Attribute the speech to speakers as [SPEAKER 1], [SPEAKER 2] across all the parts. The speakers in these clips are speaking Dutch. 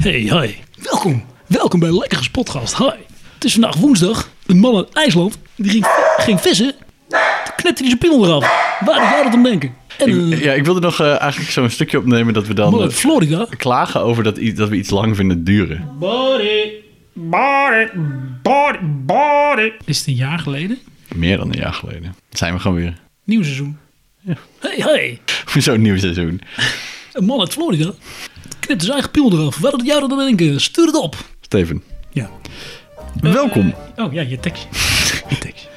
[SPEAKER 1] Hey, hoi. Welkom. Welkom bij Lekkere Podcast. Hoi. Het is vandaag woensdag. Een man uit IJsland die ging, ging vissen. Toen knipte hij zijn piemel eraf. Waar had jij dat om denken? En
[SPEAKER 2] Ik,
[SPEAKER 1] een
[SPEAKER 2] ja, ik wilde nog eh, eigenlijk zo'n stukje opnemen dat we dan
[SPEAKER 1] man uit
[SPEAKER 2] eh,
[SPEAKER 1] Florida.
[SPEAKER 2] klagen over dat, i- dat we iets lang vinden duren.
[SPEAKER 1] Body.
[SPEAKER 3] Body, body, body.
[SPEAKER 1] Is het een jaar geleden?
[SPEAKER 2] Meer dan een jaar geleden. Zijn we gewoon weer.
[SPEAKER 1] Nieuw seizoen. Hey, hey.
[SPEAKER 2] Voor zo'n nieuw seizoen.
[SPEAKER 1] Een man uit Florida knipte zijn eigen piemel eraf. Waar had jij dat om denken? Stuur het op.
[SPEAKER 2] Steven,
[SPEAKER 1] Ja.
[SPEAKER 2] welkom.
[SPEAKER 1] Oh ja, je tekst. je tekst.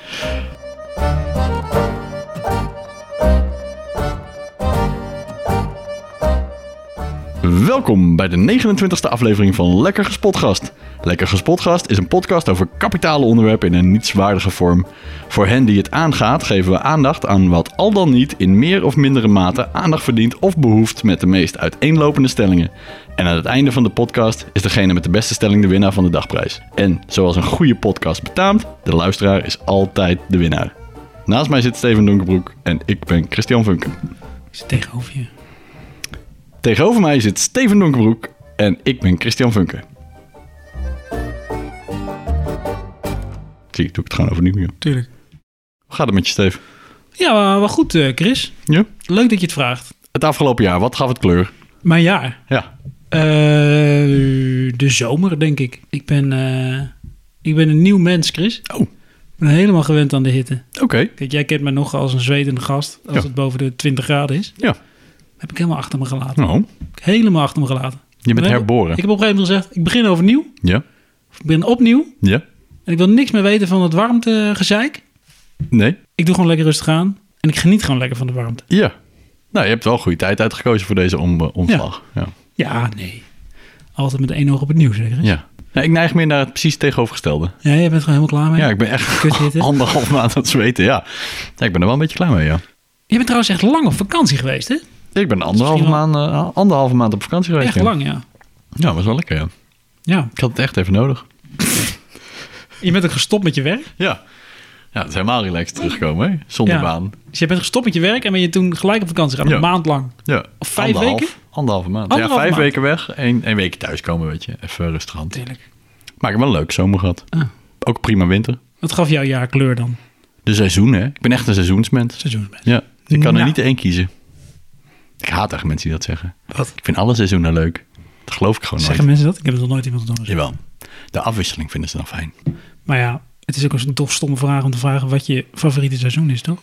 [SPEAKER 2] Welkom bij de 29e aflevering van Lekker Gespotgast. Lekker Gespotgast is een podcast over kapitale onderwerpen in een nietswaardige vorm. Voor hen die het aangaat, geven we aandacht aan wat al dan niet in meer of mindere mate aandacht verdient of behoeft met de meest uiteenlopende stellingen. En aan het einde van de podcast is degene met de beste stelling de winnaar van de dagprijs. En zoals een goede podcast betaamt, de luisteraar is altijd de winnaar. Naast mij zit Steven Donkerbroek en ik ben Christian Funken.
[SPEAKER 1] Ik zit tegenover je.
[SPEAKER 2] Tegenover mij zit Steven Donkerbroek en ik ben Christian Funke. Zie, doe ik het gewoon overnieuw. joh.
[SPEAKER 1] Tuurlijk.
[SPEAKER 2] Hoe gaat het met je, Steve?
[SPEAKER 1] Ja, maar, maar goed, eh, Chris.
[SPEAKER 2] Ja?
[SPEAKER 1] Leuk dat je het vraagt.
[SPEAKER 2] Het afgelopen jaar, wat gaf het kleur?
[SPEAKER 1] Mijn jaar.
[SPEAKER 2] Ja.
[SPEAKER 1] Eh, de zomer, denk ik. Ik ben, eh, ik ben een nieuw mens, Chris.
[SPEAKER 2] Oh, oké.
[SPEAKER 1] Ik ben helemaal gewend aan de hitte. Kijk, jij kent mij nog als een zwetende gast. Als
[SPEAKER 2] Ja.
[SPEAKER 1] het boven de 20 graden is.
[SPEAKER 2] Ja.
[SPEAKER 1] Heb ik helemaal achter me gelaten.
[SPEAKER 2] Nou,
[SPEAKER 1] Heb ik helemaal achter me gelaten.
[SPEAKER 2] je bent
[SPEAKER 1] Ik-
[SPEAKER 2] herboren.
[SPEAKER 1] Ik heb op een gegeven moment gezegd, ik begin overnieuw.
[SPEAKER 2] Ja?
[SPEAKER 1] Ik ben opnieuw.
[SPEAKER 2] Ja?
[SPEAKER 1] En ik wil niks meer weten van het warmtegezeik.
[SPEAKER 2] Nee?
[SPEAKER 1] Ik doe gewoon lekker rustig aan. En ik geniet gewoon lekker van de warmte.
[SPEAKER 2] Ja. Nou, je hebt wel goede tijd uitgekozen voor deze om, eh, omslag. Ja.
[SPEAKER 1] Ja, nee. Altijd met één oog op het nieuws, zeker.
[SPEAKER 2] ja. Nou, ik neig meer naar het precies tegenovergestelde.
[SPEAKER 1] Ja, jij bent gewoon helemaal klaar mee.
[SPEAKER 2] Oh Ja, ik ben echt
[SPEAKER 1] Kuthitte.
[SPEAKER 2] anderhalf maand aan het zweten, ja. ja. Ik ben er wel een beetje klaar mee, ja.
[SPEAKER 1] Je bent trouwens echt lang op vakantie geweest, hè?
[SPEAKER 2] Ik ben anderhalve
[SPEAKER 1] misschien wel-
[SPEAKER 2] maand, eh, anderhalve maand op vakantie geweest.
[SPEAKER 1] Echt
[SPEAKER 2] ja.
[SPEAKER 1] lang, ja.
[SPEAKER 2] Ja, was wel lekker, ja.
[SPEAKER 1] Ja,
[SPEAKER 2] Ik had het echt even nodig.
[SPEAKER 1] je bent ook gestopt met je werk.
[SPEAKER 2] Ja. Ja, het is helemaal relaxed terugkomen, hè? Zonder
[SPEAKER 1] Ja.
[SPEAKER 2] baan.
[SPEAKER 1] Dus je bent gestopt met je werk en ben je toen gelijk op vakantie gegaan, een
[SPEAKER 2] Ja.
[SPEAKER 1] maand lang.
[SPEAKER 2] Ja.
[SPEAKER 1] Of vijf
[SPEAKER 2] Anderhalf-
[SPEAKER 1] weken?
[SPEAKER 2] Anderhalve maand.
[SPEAKER 1] Anderhalve
[SPEAKER 2] ja, vijf
[SPEAKER 1] maand.
[SPEAKER 2] weken weg. Eén, één weekje thuiskomen, weet je. Even rustig aan.
[SPEAKER 1] Natuurlijk.
[SPEAKER 2] Maar ik heb wel een leuk zomer gehad.
[SPEAKER 1] Ah.
[SPEAKER 2] Ook prima winter.
[SPEAKER 1] Wat gaf jouw jaar kleur dan?
[SPEAKER 2] De seizoen, hè. Ik ben echt een seizoensmens.
[SPEAKER 1] Seizoensmens.
[SPEAKER 2] Ja. Ik kan
[SPEAKER 1] Nou.
[SPEAKER 2] er niet één kiezen. Ik haat echt mensen die dat zeggen.
[SPEAKER 1] Wat?
[SPEAKER 2] Ik vind alle seizoenen leuk. Dat geloof ik gewoon
[SPEAKER 1] Zeggen
[SPEAKER 2] nooit.
[SPEAKER 1] mensen dat? Ik heb het nog nooit iemand anders.
[SPEAKER 2] Jawel. De afwisseling vinden ze dan fijn.
[SPEAKER 1] Maar ja, het is ook een toch stomme vraag om te vragen wat je favoriete seizoen is, toch?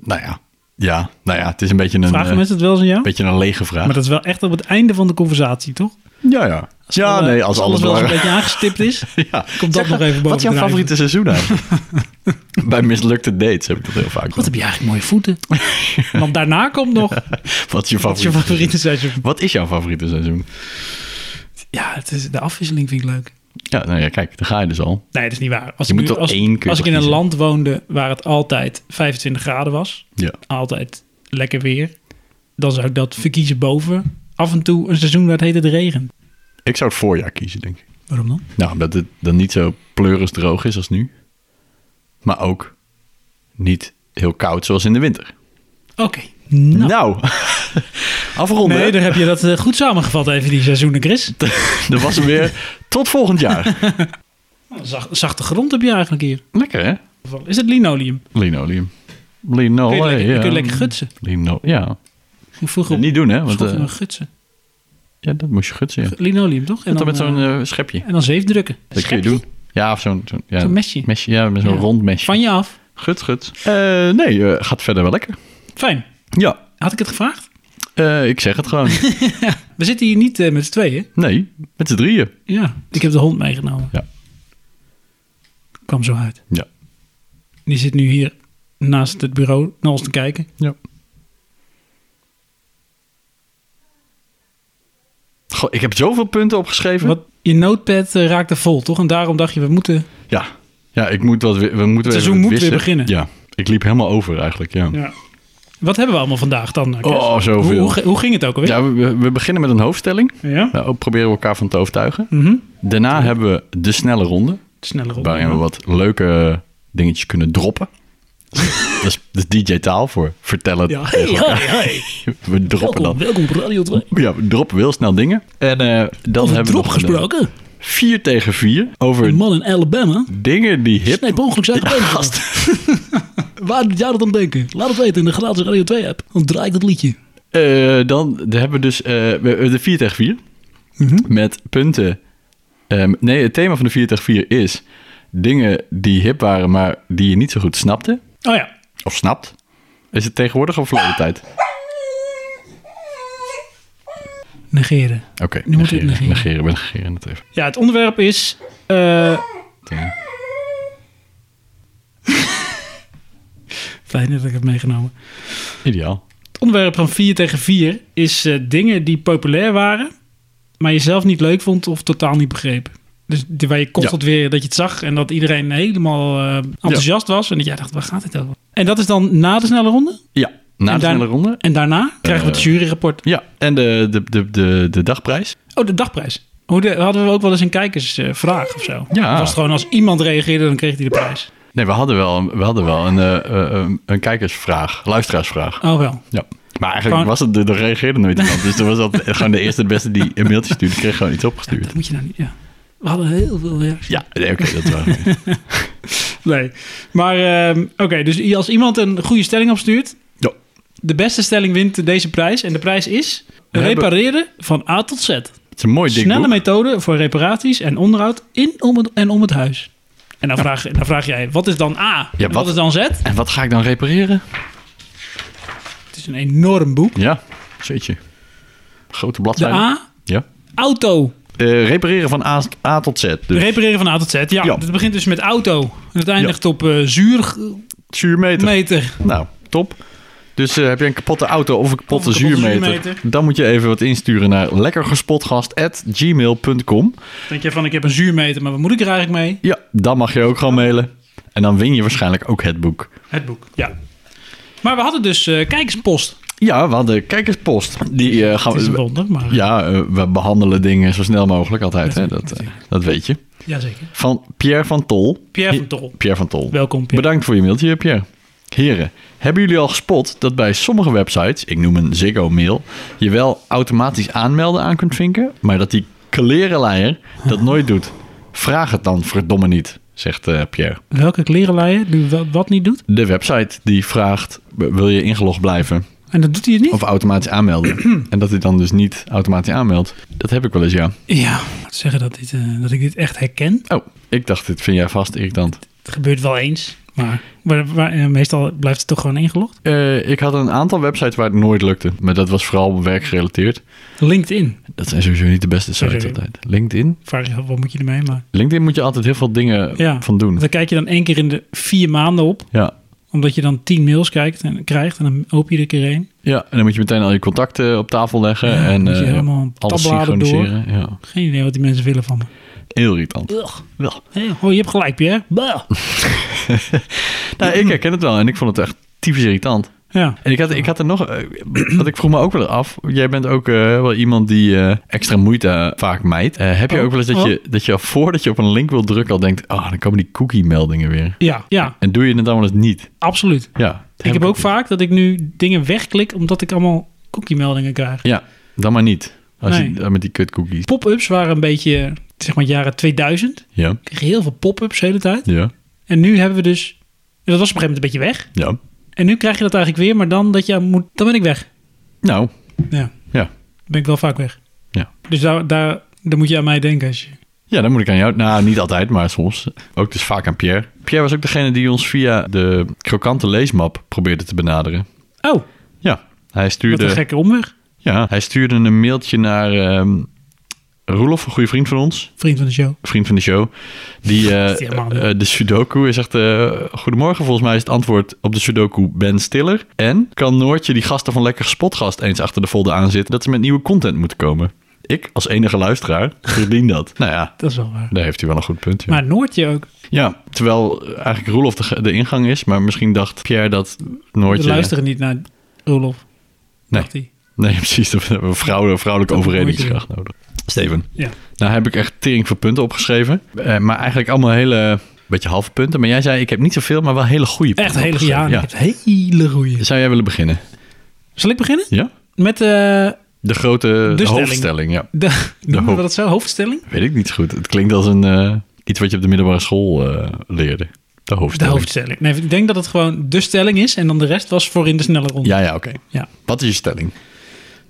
[SPEAKER 2] Nou ja. Ja. Nou ja, het is een beetje een,
[SPEAKER 1] Vragen
[SPEAKER 2] eh,
[SPEAKER 1] mensen het wel eens aan jou?
[SPEAKER 2] beetje een lege vraag.
[SPEAKER 1] Maar dat is wel echt op het einde van de conversatie, toch?
[SPEAKER 2] Ja, ja. ja,
[SPEAKER 1] Wel, eh,
[SPEAKER 2] nee, als alles
[SPEAKER 1] wel eens een
[SPEAKER 2] belangrijk
[SPEAKER 1] beetje aangestipt is.
[SPEAKER 2] Ja.
[SPEAKER 1] Komt dat
[SPEAKER 2] Zeg,
[SPEAKER 1] nog even boven
[SPEAKER 2] Wat is jouw
[SPEAKER 1] drijven?
[SPEAKER 2] favoriete seizoen eigenlijk? Bij mislukte dates heb ik dat heel vaak.
[SPEAKER 1] Wat heb je eigenlijk mooie voeten? Want daarna komt nog
[SPEAKER 2] Wat is je
[SPEAKER 1] wat is je
[SPEAKER 2] favoriete,
[SPEAKER 1] favoriete
[SPEAKER 2] seizoen?
[SPEAKER 1] seizoen.
[SPEAKER 2] Wat is jouw favoriete seizoen?
[SPEAKER 1] Ja, het is, de afwisseling vind ik leuk.
[SPEAKER 2] Ja, nou ja, kijk, daar ga je dus al.
[SPEAKER 1] Nee, dat is niet waar. Als
[SPEAKER 2] Je
[SPEAKER 1] ik
[SPEAKER 2] moet
[SPEAKER 1] nu-
[SPEAKER 2] toch
[SPEAKER 1] als,
[SPEAKER 2] één keer
[SPEAKER 1] Als ik in een
[SPEAKER 2] kiezen.
[SPEAKER 1] land woonde waar het altijd 25 graden was,
[SPEAKER 2] Ja.
[SPEAKER 1] altijd lekker weer, dan zou ik dat verkiezen boven af en toe een seizoen waar het heet het regen.
[SPEAKER 2] Ik zou het voorjaar kiezen, denk ik.
[SPEAKER 1] Waarom dan?
[SPEAKER 2] Nou, omdat het dan niet zo pleuris droog is als nu. Maar ook niet heel koud zoals in de winter.
[SPEAKER 1] Oké. Nou.
[SPEAKER 2] Nou, afronden.
[SPEAKER 1] Nee, daar heb je dat eh, goed samengevat even, die seizoenen, Chris.
[SPEAKER 2] Er was hem weer. Tot volgend jaar.
[SPEAKER 1] Zach- zachte grond heb je eigenlijk hier.
[SPEAKER 2] Lekker, hè?
[SPEAKER 1] Is het linoleum?
[SPEAKER 2] Linoleum. Linoleum.
[SPEAKER 1] Kun je lekker, je kunt lekker gutsen.
[SPEAKER 2] Lino, Oh, ja.
[SPEAKER 1] Ik ging vroeger op
[SPEAKER 2] Niet doen, hè? Want,
[SPEAKER 1] school
[SPEAKER 2] eh,
[SPEAKER 1] maar gutsen.
[SPEAKER 2] ja, dat moest je gutsen, ja.
[SPEAKER 1] Linoleum, toch? En
[SPEAKER 2] En dan met zo'n
[SPEAKER 1] eh,
[SPEAKER 2] eh, schepje.
[SPEAKER 1] en dan zeefdrukken.
[SPEAKER 2] Dat kun je doen. Ja, of zo'n zo'n- ja,
[SPEAKER 1] Zo'n mesje.
[SPEAKER 2] Ja, met zo'n
[SPEAKER 1] Ja.
[SPEAKER 2] rond mesje.
[SPEAKER 1] Van je af.
[SPEAKER 2] Gut, gut. Eh, nee, eh, gaat verder wel lekker.
[SPEAKER 1] Fijn.
[SPEAKER 2] Ja.
[SPEAKER 1] Had ik het gevraagd?
[SPEAKER 2] Eh, ik zeg het gewoon.
[SPEAKER 1] We zitten hier niet eh, met z'n tweeën.
[SPEAKER 2] nee, met z'n drieën.
[SPEAKER 1] Ja, ik heb de hond meegenomen.
[SPEAKER 2] Ja.
[SPEAKER 1] Kwam zo uit.
[SPEAKER 2] Ja.
[SPEAKER 1] Die zit nu hier naast het bureau naar ons te kijken.
[SPEAKER 2] ja. Goh, ik heb zoveel punten opgeschreven.
[SPEAKER 1] Wat, je notepad eh, raakte vol, toch? En daarom dacht je, we moeten...
[SPEAKER 2] Ja. Ja, ik moet wat, we, we moeten
[SPEAKER 1] seizoen
[SPEAKER 2] even
[SPEAKER 1] moet weer
[SPEAKER 2] wissen.
[SPEAKER 1] beginnen.
[SPEAKER 2] Ja. Ik liep helemaal over eigenlijk, ja.
[SPEAKER 1] Ja. Wat hebben we allemaal vandaag dan? eh, Kees?
[SPEAKER 2] Oh, zoveel.
[SPEAKER 1] Hoe, hoe, hoe ging het ook alweer?
[SPEAKER 2] Ja, we- we, we beginnen met een hoofdstelling.
[SPEAKER 1] Ja.
[SPEAKER 2] Nou, proberen we elkaar van te overtuigen.
[SPEAKER 1] Mhm.
[SPEAKER 2] Daarna hebben we de snelle ronde.
[SPEAKER 1] Sneller op.
[SPEAKER 2] Waarin we wat leuke dingetjes kunnen droppen. Dat is, dat is DJ taal voor. Vertel het.
[SPEAKER 1] Ja, hey,
[SPEAKER 2] tegen elkaar.
[SPEAKER 1] hi, hi.
[SPEAKER 2] We droppen
[SPEAKER 1] Welkom,
[SPEAKER 2] dan.
[SPEAKER 1] welkom op Radio 2.
[SPEAKER 2] Ja, we droppen heel snel dingen. En eh dan
[SPEAKER 1] Over
[SPEAKER 2] hebben we
[SPEAKER 1] drop
[SPEAKER 2] nog gedaan.
[SPEAKER 1] gesproken.
[SPEAKER 2] Vier tegen vier over
[SPEAKER 1] Een man in Alabama.
[SPEAKER 2] dingen die hip...
[SPEAKER 1] Nee, per ongeluk zijn gebeten.
[SPEAKER 2] Gast.
[SPEAKER 1] Waar doet jij dat aan denken? Laat het weten in de gratis Radio 2 app. Dan draai ik dat liedje.
[SPEAKER 2] Eh, dan hebben we dus eh, we- eh, de 4 tegen 4.
[SPEAKER 1] Mhm.
[SPEAKER 2] Met punten. Ehm, nee, het thema van de 4 tegen 4 is dingen die hip waren, maar die je niet zo goed snapte.
[SPEAKER 1] Oh ja.
[SPEAKER 2] Of snapt. Is het tegenwoordig of verleden
[SPEAKER 1] Ah.
[SPEAKER 2] tijd?
[SPEAKER 1] Negeren.
[SPEAKER 2] Oké,
[SPEAKER 1] Nu moet ik
[SPEAKER 2] negeren,
[SPEAKER 1] negeren.
[SPEAKER 2] negeren. We negeren het even.
[SPEAKER 1] Ja, het onderwerp is... eh,
[SPEAKER 2] Oké.
[SPEAKER 1] Fijn dat ik het meegenomen.
[SPEAKER 2] Ideaal.
[SPEAKER 1] Het onderwerp van 4 tegen 4 is eh, dingen die populair waren, maar je zelf niet leuk vond of totaal niet begreep. Dus die- waar je constant weer dat je het zag en dat iedereen helemaal eh, enthousiast was. En dat jij dacht, waar gaat dit over? En dat is dan na de snelle ronde.
[SPEAKER 2] Ja, na
[SPEAKER 1] En
[SPEAKER 2] de
[SPEAKER 1] daar-
[SPEAKER 2] snelle ronde.
[SPEAKER 1] En daarna krijgen
[SPEAKER 2] Eh.
[SPEAKER 1] we het juryrapport.
[SPEAKER 2] Ja, en de, de, de, de, de dagprijs.
[SPEAKER 1] Oh, de dagprijs. Hoe de- hadden we ook wel eens een kijkersvraag eh, of zo?
[SPEAKER 2] Ja.
[SPEAKER 1] Was het gewoon als iemand reageerde, dan kreeg hij de prijs.
[SPEAKER 2] Nee, we hadden wel, een- we hadden wel een, eh, eh, een- een kijkersvraag, luisteraarsvraag.
[SPEAKER 1] Oh wel.
[SPEAKER 2] Ja. Maar eigenlijk
[SPEAKER 1] Gewoon-
[SPEAKER 2] was het, er reageerde nooit iemand. Dus er was dat gewoon de eerste de beste die een mailtje stuurde, kreeg gewoon iets opgestuurd.
[SPEAKER 1] Dat moet je nou niet, ja. We hadden heel veel reacties.
[SPEAKER 2] Ja, nee, oké, dat was
[SPEAKER 1] Nee. Maar ehm, oké, dus als iemand een goede stelling opstuurt,
[SPEAKER 2] Ja.
[SPEAKER 1] de beste stelling wint deze prijs. En de prijs is
[SPEAKER 2] We hebben-
[SPEAKER 1] repareren van A tot Z.
[SPEAKER 2] Het is een mooi dik
[SPEAKER 1] Snelle
[SPEAKER 2] boek.
[SPEAKER 1] methode voor reparaties en onderhoud in om het, en om het huis. En dan vraag, dan vraag jij, wat is dan A?
[SPEAKER 2] Ja,
[SPEAKER 1] en wat?
[SPEAKER 2] wat-
[SPEAKER 1] is dan Z?
[SPEAKER 2] En wat ga ik dan repareren?
[SPEAKER 1] Het is een enorm boek.
[SPEAKER 2] Ja, jeetje. Grote
[SPEAKER 1] De
[SPEAKER 2] bladzijde.
[SPEAKER 1] A,
[SPEAKER 2] Ja.
[SPEAKER 1] auto.
[SPEAKER 2] Eh, repareren van A, A tot Z. Dus
[SPEAKER 1] Repareren van A tot Z. Ja,
[SPEAKER 2] Ja.
[SPEAKER 1] het begint dus met auto. En het eindigt op eh zuurmeter.
[SPEAKER 2] zuurmeter. Nou, top. Dus eh, heb je een kapotte auto of een kapotte,
[SPEAKER 1] Of een kapotte
[SPEAKER 2] zuurmeter,
[SPEAKER 1] zuurmeter.
[SPEAKER 2] dan moet je even wat insturen naar lekkergespotgast.gmail.com.
[SPEAKER 1] Denk je van, ik heb een zuurmeter, maar wat moet ik er eigenlijk mee?
[SPEAKER 2] Ja, dan mag je ook gewoon mailen. En dan win je waarschijnlijk ook het boek.
[SPEAKER 1] Het boek, ja. Maar we hadden dus eh, kijkerspost.
[SPEAKER 2] Ja, we hadden kijkerspost. Die eh, gaan
[SPEAKER 1] Het is een
[SPEAKER 2] we.
[SPEAKER 1] wonder, maar...
[SPEAKER 2] Ja, eh, we behandelen dingen zo snel mogelijk altijd. Hè? Dat, eh, dat weet je.
[SPEAKER 1] Jazeker.
[SPEAKER 2] Van Pierre van Tol.
[SPEAKER 1] Pierre van Tol.
[SPEAKER 2] Pierre van Tol.
[SPEAKER 1] Welkom, Pierre.
[SPEAKER 2] Bedankt voor je mailtje, Pierre. Heren, hebben jullie al gespot dat bij sommige websites, ik noem een Ziggo Mail, je wel automatisch aanmelden aan kunt vinken, maar dat die klerenleier dat nooit doet? Vraag het dan verdomme niet, zegt eh, Pierre.
[SPEAKER 1] Welke klerenleier die wa- wat niet doet?
[SPEAKER 2] De website die vraagt, wil je ingelogd blijven?
[SPEAKER 1] En dat doet hij het niet?
[SPEAKER 2] Of automatisch aanmelden. en dat hij dan dus niet automatisch aanmeldt. Dat heb ik wel eens, ja.
[SPEAKER 1] Ja, ik moet zeggen dat, dit, eh, dat ik dit echt herken.
[SPEAKER 2] Oh, ik dacht, dit vind jij vast irritant.
[SPEAKER 1] Het gebeurt wel eens, maar, maar, maar, eh, meestal blijft het toch gewoon ingelogd.
[SPEAKER 2] Eh, ik had een aantal websites waar het nooit lukte. Maar dat was vooral werkgerelateerd.
[SPEAKER 1] LinkedIn.
[SPEAKER 2] Dat zijn sowieso niet de beste sites
[SPEAKER 1] Sowieso.
[SPEAKER 2] altijd. LinkedIn?
[SPEAKER 1] Vraag je af, wat moet je ermee? Maar
[SPEAKER 2] LinkedIn moet je altijd heel veel dingen
[SPEAKER 1] ja,
[SPEAKER 2] van doen.
[SPEAKER 1] Daar kijk je dan één keer in de vier maanden op,
[SPEAKER 2] Ja.
[SPEAKER 1] omdat je dan tien mails kijkt en, krijgt en dan open je er een keer één.
[SPEAKER 2] ja, en dan moet je meteen al je contacten op tafel leggen. en
[SPEAKER 1] moet je
[SPEAKER 2] eh,
[SPEAKER 1] helemaal
[SPEAKER 2] alles
[SPEAKER 1] tabbladen door.
[SPEAKER 2] synchroniseren. Ja.
[SPEAKER 1] Geen idee wat die mensen willen van me.
[SPEAKER 2] Heel irritant.
[SPEAKER 1] Ugh. Wel. oh, je hebt gelijk, Pierre. Bah.
[SPEAKER 2] Nou, ik herken het wel en ik vond het echt typisch irritant.
[SPEAKER 1] Ja.
[SPEAKER 2] En ik had, ik had er nog, eh, want ik vroeg me ook wel af. Jij bent ook eh, wel iemand die eh, extra moeite eh, vaak mijt. Eh, heb je
[SPEAKER 1] Oh,
[SPEAKER 2] ook wel eens dat,
[SPEAKER 1] oh.
[SPEAKER 2] je, dat je al voordat je op een link wil drukken al denkt: ah, dan komen die cookie-meldingen weer.
[SPEAKER 1] Ja, ja,
[SPEAKER 2] En doe je het dan wel eens niet?
[SPEAKER 1] absoluut.
[SPEAKER 2] Ja. dat
[SPEAKER 1] ik heb ook
[SPEAKER 2] weer.
[SPEAKER 1] vaak dat ik nu dingen wegklik omdat ik allemaal cookie-meldingen krijg.
[SPEAKER 2] Ja, dan maar niet. Als
[SPEAKER 1] Nee.
[SPEAKER 2] je eh, met die kut-cookies.
[SPEAKER 1] Pop-ups waren een beetje, zeg maar, jaren 2000. Ik
[SPEAKER 2] Ja,
[SPEAKER 1] kreeg heel veel pop-ups de hele tijd.
[SPEAKER 2] ja,
[SPEAKER 1] En nu hebben we dus, dat was op een gegeven moment een beetje weg.
[SPEAKER 2] ja.
[SPEAKER 1] En nu krijg je dat eigenlijk weer, maar dan dat je aan moet, dan ben ik weg.
[SPEAKER 2] Nou,
[SPEAKER 1] Ja,
[SPEAKER 2] ja.
[SPEAKER 1] dan ben ik wel vaak weg.
[SPEAKER 2] Ja.
[SPEAKER 1] Dus daar, daar, daar moet je aan mij denken als je...
[SPEAKER 2] Ja, dan moet ik aan jou. Nou, niet altijd, maar soms. Ook dus vaak aan Pierre. Pierre was ook degene die ons via de krokante leesmap probeerde te benaderen.
[SPEAKER 1] Oh,
[SPEAKER 2] Ja, hij
[SPEAKER 1] wat
[SPEAKER 2] stuurde.
[SPEAKER 1] een gekke omweg.
[SPEAKER 2] Ja, hij stuurde een mailtje naar ehm Roelof, een goede vriend van ons,
[SPEAKER 1] Vriend van de show.
[SPEAKER 2] vriend van de show. Die, eh,
[SPEAKER 1] is die helemaal niet.
[SPEAKER 2] eh, de Sudoku is echt. eh, goedemorgen, volgens mij is het antwoord op de Sudoku Ben Stiller. En kan Noortje die gasten van Lekker Spotgast eens achter de folder aanzitten dat ze met nieuwe content moeten komen? Ik, als enige luisteraar, verdien dat. Nou ja,
[SPEAKER 1] Dat is wel waar.
[SPEAKER 2] daar heeft hij wel een goed punt. Ja,
[SPEAKER 1] Maar Noortje ook.
[SPEAKER 2] ja terwijl eh, eigenlijk Roelof de, ge- de ingang is, maar misschien dacht Pierre dat
[SPEAKER 1] We
[SPEAKER 2] Noortje.
[SPEAKER 1] luisteren niet naar Roelof.
[SPEAKER 2] Nee.
[SPEAKER 1] Dacht hij.
[SPEAKER 2] Nee, precies. We hebben een vrouw, vrouwelijke
[SPEAKER 1] Dat
[SPEAKER 2] overredingskracht nodig. Steven.
[SPEAKER 1] Ja.
[SPEAKER 2] Nou heb ik echt tering voor punten opgeschreven. Eh, maar eigenlijk allemaal hele beetje halve punten. Maar jij zei, ik heb niet zoveel, maar wel hele goede
[SPEAKER 1] Echt
[SPEAKER 2] punten
[SPEAKER 1] hele goede. Ja,
[SPEAKER 2] opgeschreven.
[SPEAKER 1] ik heb hele goede.
[SPEAKER 2] Zou jij willen beginnen?
[SPEAKER 1] Zal ik beginnen?
[SPEAKER 2] Ja?
[SPEAKER 1] Met eh,
[SPEAKER 2] De grote
[SPEAKER 1] stelling.
[SPEAKER 2] hoofdstelling, ja.
[SPEAKER 1] de, noemen
[SPEAKER 2] hoofd-
[SPEAKER 1] we dat zo? Hoofdstelling?
[SPEAKER 2] Weet ik niet zo goed. Het klinkt als een, eh, iets wat je op de middelbare school eh, leerde. De
[SPEAKER 1] De
[SPEAKER 2] hoofdstelling.
[SPEAKER 1] hoofdstelling. Nee, ik denk dat het gewoon de stelling is en dan de rest was voor in de snelle ronde.
[SPEAKER 2] Ja, ja, oké.
[SPEAKER 1] Ja.
[SPEAKER 2] Wat is je stelling?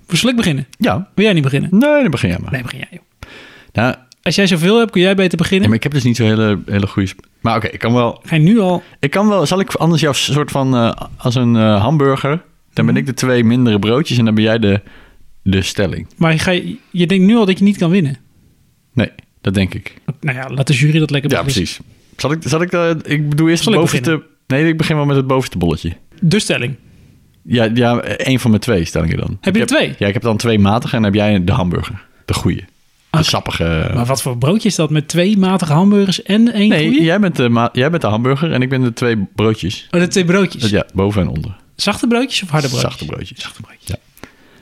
[SPEAKER 1] Zal ik beginnen?
[SPEAKER 2] Ja.
[SPEAKER 1] Wil jij niet beginnen?
[SPEAKER 2] Nee, dan begin jij maar.
[SPEAKER 1] Nee, begin jij. joh.
[SPEAKER 2] Nou,
[SPEAKER 1] Als jij zoveel hebt, kun jij beter
[SPEAKER 2] ja,
[SPEAKER 1] beginnen.
[SPEAKER 2] maar ik heb dus niet zo'n hele, hele goede... sp- Maar oké, ik kan wel...
[SPEAKER 1] Ga je nu al...
[SPEAKER 2] Ik kan wel, zal ik anders jouw soort van eh, als een eh, hamburger? Dan ben ik de twee mindere broodjes en dan ben jij de, de stelling.
[SPEAKER 1] Maar ga je, je denkt nu al dat je niet kan winnen.
[SPEAKER 2] Nee, dat denk ik.
[SPEAKER 1] Nou ja, laat de jury dat lekker
[SPEAKER 2] Ja,
[SPEAKER 1] beslissen.
[SPEAKER 2] precies. Zal ik, zal ik, eh, ik bedoel eerst
[SPEAKER 1] Zal
[SPEAKER 2] het
[SPEAKER 1] ik
[SPEAKER 2] bovenste. Nee, ik begin wel met het bovenste bolletje.
[SPEAKER 1] De stelling.
[SPEAKER 2] Ja, ja, één van mijn twee stellingen dan.
[SPEAKER 1] Heb je
[SPEAKER 2] Ik
[SPEAKER 1] er twee?
[SPEAKER 2] Ja, ik heb dan twee matige en dan heb jij de hamburger. De goede. De
[SPEAKER 1] Oké.
[SPEAKER 2] sappige.
[SPEAKER 1] Maar wat voor broodje is dat met twee matige hamburgers en één
[SPEAKER 2] nee,
[SPEAKER 1] goeie?
[SPEAKER 2] jij bent, de ma- jij bent de hamburger en ik ben de twee broodjes. Dus
[SPEAKER 1] Oh, de twee broodjes.
[SPEAKER 2] Ja, boven en onder.
[SPEAKER 1] Zachte broodjes of harde broodjes?
[SPEAKER 2] Zachte broodjes. Zachte broodjes. Ja.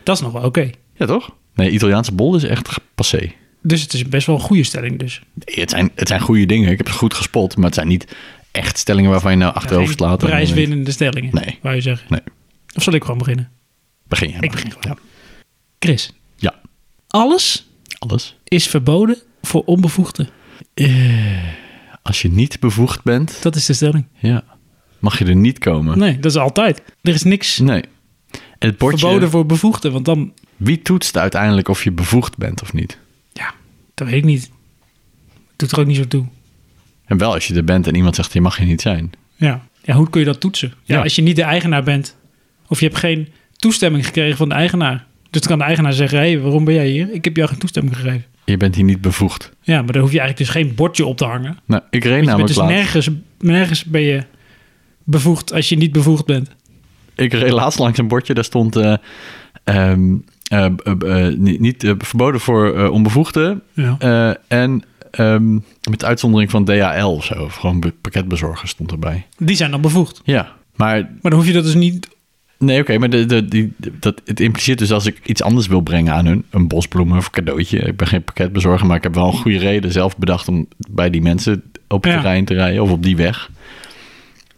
[SPEAKER 1] Dat is nog wel oké.
[SPEAKER 2] ja, toch? Nee, Italiaanse bol is echt passé.
[SPEAKER 1] Dus het is best wel een goede stelling dus.
[SPEAKER 2] Nee, Het zijn, het zijn goede dingen. Ik heb het goed gespot, maar het zijn niet echt stellingen waarvan je nou
[SPEAKER 1] Geen
[SPEAKER 2] achterover slaat. en dan denkt,
[SPEAKER 1] Prijswinnende stellingen,
[SPEAKER 2] Nee.
[SPEAKER 1] wou je zeggen.
[SPEAKER 2] Nee.
[SPEAKER 1] Of zal ik gewoon beginnen?
[SPEAKER 2] Begin jij maar.
[SPEAKER 1] Ik begin gewoon. Chris,
[SPEAKER 2] Ja,
[SPEAKER 1] alles
[SPEAKER 2] alles.
[SPEAKER 1] is verboden voor onbevoegden.
[SPEAKER 2] Als je niet bevoegd bent,
[SPEAKER 1] Dat is de stelling.
[SPEAKER 2] ja, mag je er niet komen.
[SPEAKER 1] Nee, dat is altijd. Er is niks
[SPEAKER 2] Nee. En het bordje,
[SPEAKER 1] verboden voor bevoegden, want dan...
[SPEAKER 2] wie toetst uiteindelijk of je bevoegd bent of niet?
[SPEAKER 1] Ja, dat weet ik niet. Doet er ook niet zo toe.
[SPEAKER 2] En wel als je er bent en iemand zegt, je mag je niet zijn.
[SPEAKER 1] Ja. ja hoe kun je dat toetsen? Ja,
[SPEAKER 2] Ja.
[SPEAKER 1] Als je niet de eigenaar bent. Of je hebt geen toestemming gekregen van de eigenaar. Dus kan de eigenaar zeggen, hé, hey, waarom ben jij hier? Ik heb jou geen toestemming gegeven.
[SPEAKER 2] Je bent hier niet bevoegd.
[SPEAKER 1] Ja, maar daar hoef je eigenlijk dus geen bordje op te hangen.
[SPEAKER 2] Nou, ik reed
[SPEAKER 1] Je bent
[SPEAKER 2] namelijk
[SPEAKER 1] dus
[SPEAKER 2] laatst-
[SPEAKER 1] nergens, nergens ben je bevoegd als je niet bevoegd bent.
[SPEAKER 2] Ik reed laatst langs een bordje, daar stond eh, ehm, eh, eh, eh, niet, niet, eh, verboden voor eh, onbevoegden.
[SPEAKER 1] Ja.
[SPEAKER 2] Eh, en ehm, met uitzondering van DHL of zo, of gewoon be- pakketbezorgers stond erbij.
[SPEAKER 1] Die zijn dan bevoegd.
[SPEAKER 2] Ja, maar
[SPEAKER 1] Maar dan hoef je dat dus niet...
[SPEAKER 2] nee, oké, maar de, de, die, dat, het impliceert dus als ik iets anders wil brengen aan hun, een bosbloemen of een cadeautje. Ik ben geen pakketbezorger, maar ik heb wel een goede reden zelf bedacht om bij die mensen op het
[SPEAKER 1] Ja.
[SPEAKER 2] terrein te rijden of op die weg.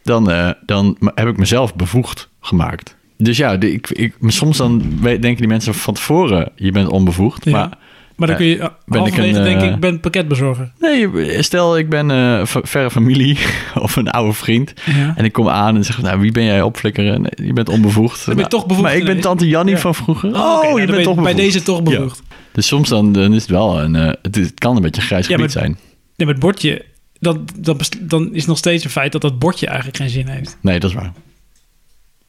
[SPEAKER 2] Dan, eh, dan heb ik mezelf bevoegd gemaakt. Dus ja, de, ik, ik, maar soms dan we- denken die mensen van tevoren, je bent onbevoegd.
[SPEAKER 1] Ja.
[SPEAKER 2] Maar
[SPEAKER 1] Maar dan
[SPEAKER 2] Eh,
[SPEAKER 1] kun je
[SPEAKER 2] ben ik
[SPEAKER 1] halverwege
[SPEAKER 2] een,
[SPEAKER 1] denken,
[SPEAKER 2] eh,
[SPEAKER 1] ik ben pakketbezorger.
[SPEAKER 2] Nee, stel ik ben eh, v- verre familie of een oude vriend.
[SPEAKER 1] Ja.
[SPEAKER 2] En ik kom aan en zeg, nou, wie ben jij opflikkeren? Nee, je bent onbevoegd.
[SPEAKER 1] ben je
[SPEAKER 2] Nou,
[SPEAKER 1] toch bevoegd
[SPEAKER 2] Maar ik ben
[SPEAKER 1] ineens.
[SPEAKER 2] tante Jannie
[SPEAKER 1] Ja.
[SPEAKER 2] van vroeger. Oh,
[SPEAKER 1] oké, nou,
[SPEAKER 2] je
[SPEAKER 1] dan
[SPEAKER 2] bent
[SPEAKER 1] ben
[SPEAKER 2] toch
[SPEAKER 1] Bij
[SPEAKER 2] bevoegd.
[SPEAKER 1] deze toch bevoegd.
[SPEAKER 2] Dus soms dan, dan is het wel een... eh, het, is- het kan een beetje een grijs
[SPEAKER 1] Ja,
[SPEAKER 2] gebied
[SPEAKER 1] maar-
[SPEAKER 2] zijn.
[SPEAKER 1] Nee, met het bordje, dan, dan, best- dan is nog steeds een feit dat dat bordje eigenlijk geen zin heeft.
[SPEAKER 2] Nee, dat is waar.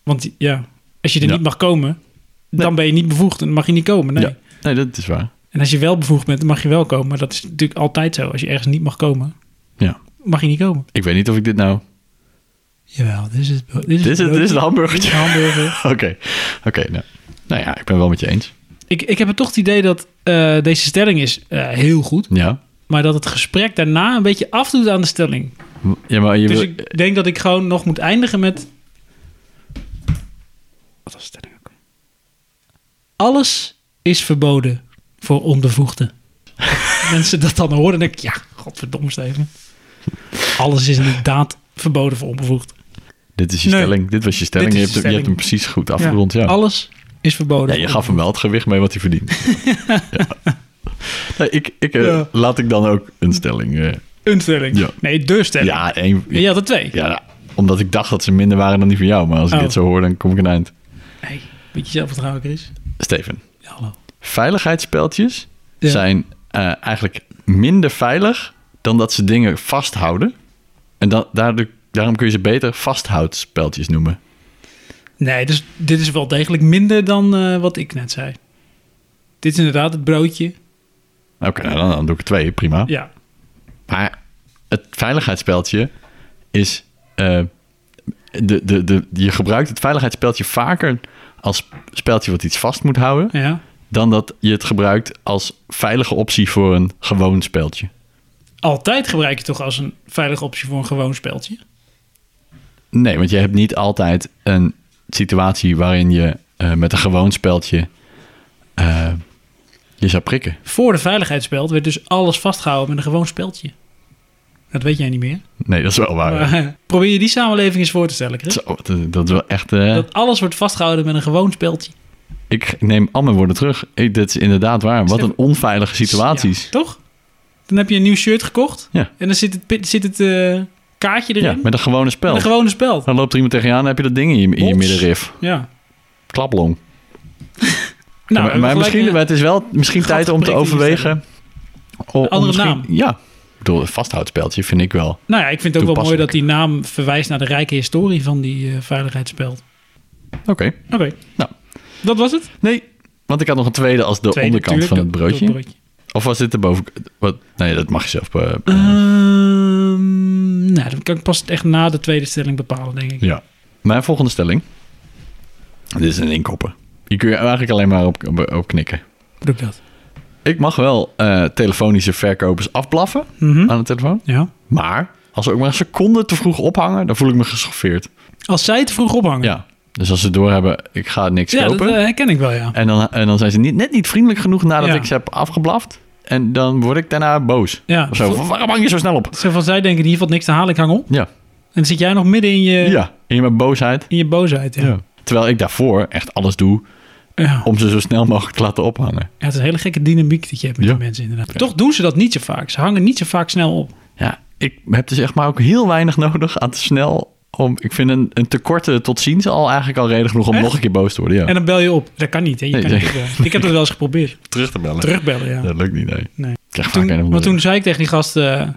[SPEAKER 1] Want ja, als je er
[SPEAKER 2] Ja.
[SPEAKER 1] niet mag komen, dan ben je niet bevoegd en dan mag je niet komen. Nee.
[SPEAKER 2] Ja. Nee, dat is waar.
[SPEAKER 1] En als je wel bevoegd bent, dan mag je wel komen. Maar dat is natuurlijk altijd zo. Als je ergens niet mag komen,
[SPEAKER 2] Ja.
[SPEAKER 1] mag je niet komen.
[SPEAKER 2] Ik weet niet of ik dit nou...
[SPEAKER 1] Jawel, dit is het broodje.
[SPEAKER 2] Dit is, dit is het
[SPEAKER 1] Dit is
[SPEAKER 2] hamburgertje.
[SPEAKER 1] de hamburger.
[SPEAKER 2] Oké, oké. nou. nou ja, ik ben wel met je eens.
[SPEAKER 1] ik, ik heb het toch het idee dat eh, deze stelling is eh, heel goed.
[SPEAKER 2] Ja,
[SPEAKER 1] Maar dat het gesprek daarna een beetje afdoet aan de stelling.
[SPEAKER 2] ja maar je
[SPEAKER 1] Dus
[SPEAKER 2] wil...
[SPEAKER 1] ik denk dat ik gewoon nog moet eindigen met. Wat was de stelling ook? Alles is verboden voor onbevoegden. Mensen dat dan horen, denk ik, ja, godverdomme Steven. Alles is inderdaad verboden voor onbevoegden.
[SPEAKER 2] Dit is je
[SPEAKER 1] Nee.
[SPEAKER 2] stelling. Dit was je stelling.
[SPEAKER 1] Dit
[SPEAKER 2] Je
[SPEAKER 1] is
[SPEAKER 2] hebt,
[SPEAKER 1] de
[SPEAKER 2] hem- je hebt hem
[SPEAKER 1] stelling. Oh,
[SPEAKER 2] precies goed afgerond, ja.
[SPEAKER 1] Alles is verboden.
[SPEAKER 2] Ja, je gaf hem wel het gewicht mee wat hij verdient. ja. Nee, ik, ik, eh,
[SPEAKER 1] Ja.
[SPEAKER 2] Laat ik dan ook een stelling. eh,
[SPEAKER 1] Een stelling.
[SPEAKER 2] Ja.
[SPEAKER 1] Nee, de stelling. Ja,
[SPEAKER 2] ja, één,
[SPEAKER 1] je had er twee.
[SPEAKER 2] ja, nou, omdat ik dacht dat ze minder waren dan die van jou. Maar als ik
[SPEAKER 1] Oh.
[SPEAKER 2] dit zo hoor, dan kom ik een eind.
[SPEAKER 1] Hey, beetje zelfvertrouwen, Chris.
[SPEAKER 2] Steven,
[SPEAKER 1] Ja, hallo.
[SPEAKER 2] veiligheidsspeltjes
[SPEAKER 1] Ja.
[SPEAKER 2] zijn eh, eigenlijk minder veilig dan dat ze dingen vasthouden. En da- daardoor, daarom kun je ze beter vasthoudspeltjes noemen.
[SPEAKER 1] Nee, dus dit is wel degelijk minder dan eh, wat ik net zei. Dit is inderdaad het broodje.
[SPEAKER 2] Oké, nou, dan, dan doe ik er twee, prima.
[SPEAKER 1] Ja.
[SPEAKER 2] Maar het veiligheidsspeltje is. eh, de, de, de, je gebruikt het veiligheidsspeltje vaker als speltje wat iets vast moet houden.
[SPEAKER 1] Ja.
[SPEAKER 2] dan dat je het gebruikt als veilige optie voor een gewoon speltje.
[SPEAKER 1] Altijd gebruik je toch als een veilige optie voor een gewoon speeltje?
[SPEAKER 2] Nee, want je hebt niet altijd een situatie waarin je eh, met een gewoon speltje eh, je zou prikken.
[SPEAKER 1] Voor de veiligheidsspeld werd dus alles vastgehouden met een gewoon speeltje. Dat weet jij niet meer.
[SPEAKER 2] Nee, dat is wel waar.
[SPEAKER 1] Maar, eh, probeer je die samenleving eens voor te stellen, Chris.
[SPEAKER 2] Ah, Zo, dat- dat is wel echt... eh,
[SPEAKER 1] Dat alles wordt vastgehouden met een gewoon speeltje.
[SPEAKER 2] Ik neem al mijn woorden terug. Ik, dit is inderdaad waar. Wat een onveilige situaties.
[SPEAKER 1] Ja, toch? Dan heb je een nieuw shirt gekocht.
[SPEAKER 2] Ja.
[SPEAKER 1] En dan zit het, pi- zit het eh, kaartje erin.
[SPEAKER 2] Ja, met een gewone
[SPEAKER 1] Met
[SPEAKER 2] spel.
[SPEAKER 1] een gewone speld.
[SPEAKER 2] Dan loopt er iemand tegen je aan en heb je dat ding in je, in je
[SPEAKER 1] Bots.
[SPEAKER 2] middenrif.
[SPEAKER 1] Ja.
[SPEAKER 2] Klaplong.
[SPEAKER 1] Nou,
[SPEAKER 2] Ja, maar- maar misschien, maar het is wel misschien
[SPEAKER 1] gat
[SPEAKER 2] tijd om te
[SPEAKER 1] geprikt in die
[SPEAKER 2] overwegen. o- om
[SPEAKER 1] Andere
[SPEAKER 2] misschien-
[SPEAKER 1] naam.
[SPEAKER 2] Ja. Ik bedoel, een vasthoudspeltje vind ik wel.
[SPEAKER 1] Nou ja, ik vind het ook wel mooi dat
[SPEAKER 2] Toepasselijk.
[SPEAKER 1] die naam verwijst naar de rijke historie van die eh veiligheidsspeld.
[SPEAKER 2] Oké.
[SPEAKER 1] Oké.
[SPEAKER 2] Nou.
[SPEAKER 1] Dat was het?
[SPEAKER 2] Nee, want ik had nog een tweede als de
[SPEAKER 1] Tweede,
[SPEAKER 2] onderkant
[SPEAKER 1] tuurlijk,
[SPEAKER 2] van het
[SPEAKER 1] dat- dat
[SPEAKER 2] broodje. Of was dit de boven... Wat? Nee, dat mag je zelf... eh,
[SPEAKER 1] Ehm, nou, dan kan ik pas echt na de tweede stelling bepalen, denk ik.
[SPEAKER 2] Ja. Mijn volgende stelling. Dit is een inkoppen. Hier kun je eigenlijk alleen maar op, op, op knikken.
[SPEAKER 1] Doe ik dat?
[SPEAKER 2] Ik mag wel eh, telefonische verkopers afblaffen
[SPEAKER 1] Mhm.
[SPEAKER 2] aan de telefoon.
[SPEAKER 1] Ja.
[SPEAKER 2] Maar als ze ook maar een seconde te vroeg ophangen, dan voel ik me geschoffeerd.
[SPEAKER 1] Als zij te vroeg ophangen.
[SPEAKER 2] Ja. Dus als ze doorhebben, ik ga niks
[SPEAKER 1] Ja, dat
[SPEAKER 2] kopen.
[SPEAKER 1] eh, herken ik wel, ja.
[SPEAKER 2] En, dan, en dan zijn ze niet, net niet vriendelijk genoeg nadat
[SPEAKER 1] Ja.
[SPEAKER 2] ik ze heb afgeblaft. En dan word ik daarna boos.
[SPEAKER 1] Ja.
[SPEAKER 2] Of zo, van, waarom hang je zo snel op?
[SPEAKER 1] Zo van, zij denken, hier valt niks te halen, ik hang op.
[SPEAKER 2] Ja.
[SPEAKER 1] En dan zit jij nog midden in je,
[SPEAKER 2] Ja, in mijn boosheid.
[SPEAKER 1] in je boosheid. Ja. Ja.
[SPEAKER 2] Terwijl ik daarvoor echt alles doe
[SPEAKER 1] Ja.
[SPEAKER 2] om ze zo snel mogelijk te laten ophangen.
[SPEAKER 1] het is een hele gekke dynamiek die je hebt met
[SPEAKER 2] Ja.
[SPEAKER 1] die mensen inderdaad. Toch doen ze dat niet zo vaak. Ze hangen niet zo vaak snel op.
[SPEAKER 2] Ja, ik heb dus echt maar ook heel weinig nodig aan te snel. Om, ik vind een, een tekorten tot ziens al eigenlijk al reden genoeg om
[SPEAKER 1] Echt?
[SPEAKER 2] nog een keer boos te worden. Ja.
[SPEAKER 1] En dan bel je op. Dat kan niet, hè? Je
[SPEAKER 2] Nee,
[SPEAKER 1] kan
[SPEAKER 2] nee.
[SPEAKER 1] niet opbellen. Ik heb dat wel eens geprobeerd.
[SPEAKER 2] terug te bellen.
[SPEAKER 1] Terugbellen, ja.
[SPEAKER 2] Dat lukt niet, nee.
[SPEAKER 1] Nee.
[SPEAKER 2] Ik krijg vaak een
[SPEAKER 1] Toen,
[SPEAKER 2] of
[SPEAKER 1] maar
[SPEAKER 2] andere-
[SPEAKER 1] toen zei ik tegen die gast eh,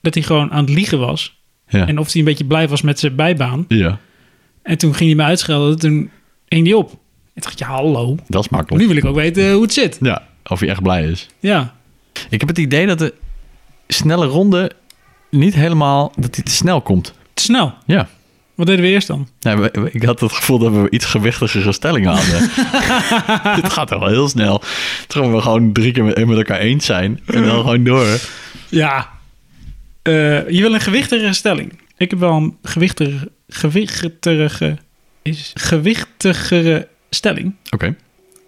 [SPEAKER 1] dat hij gewoon aan het liegen was.
[SPEAKER 2] Ja.
[SPEAKER 1] En of hij een beetje blij was met zijn bijbaan.
[SPEAKER 2] ja,
[SPEAKER 1] En toen ging hij me uitschelden. Toen hing die op. En toen dacht ik, ja, hallo.
[SPEAKER 2] dat is makkelijk.
[SPEAKER 1] Nu wil ik ook weten eh, hoe het zit.
[SPEAKER 2] Ja, of hij echt blij is.
[SPEAKER 1] Ja.
[SPEAKER 2] Ik heb het idee dat de snelle ronde niet helemaal... dat hij te snel komt.
[SPEAKER 1] Te snel.
[SPEAKER 2] Ja.
[SPEAKER 1] Wat deden we eerst dan?
[SPEAKER 2] Nou, we- we- ik had het gevoel dat we iets gewichtigere stellingen hadden. het gaat toch wel heel snel. Terwijl we gewoon drie keer met, met elkaar eens zijn. En dan gewoon door.
[SPEAKER 1] Ja. Eh, je wil een gewichtigere stelling. Ik heb wel een gewichtigere, gewichtigere, is, gewichtigere stelling.
[SPEAKER 2] Oké.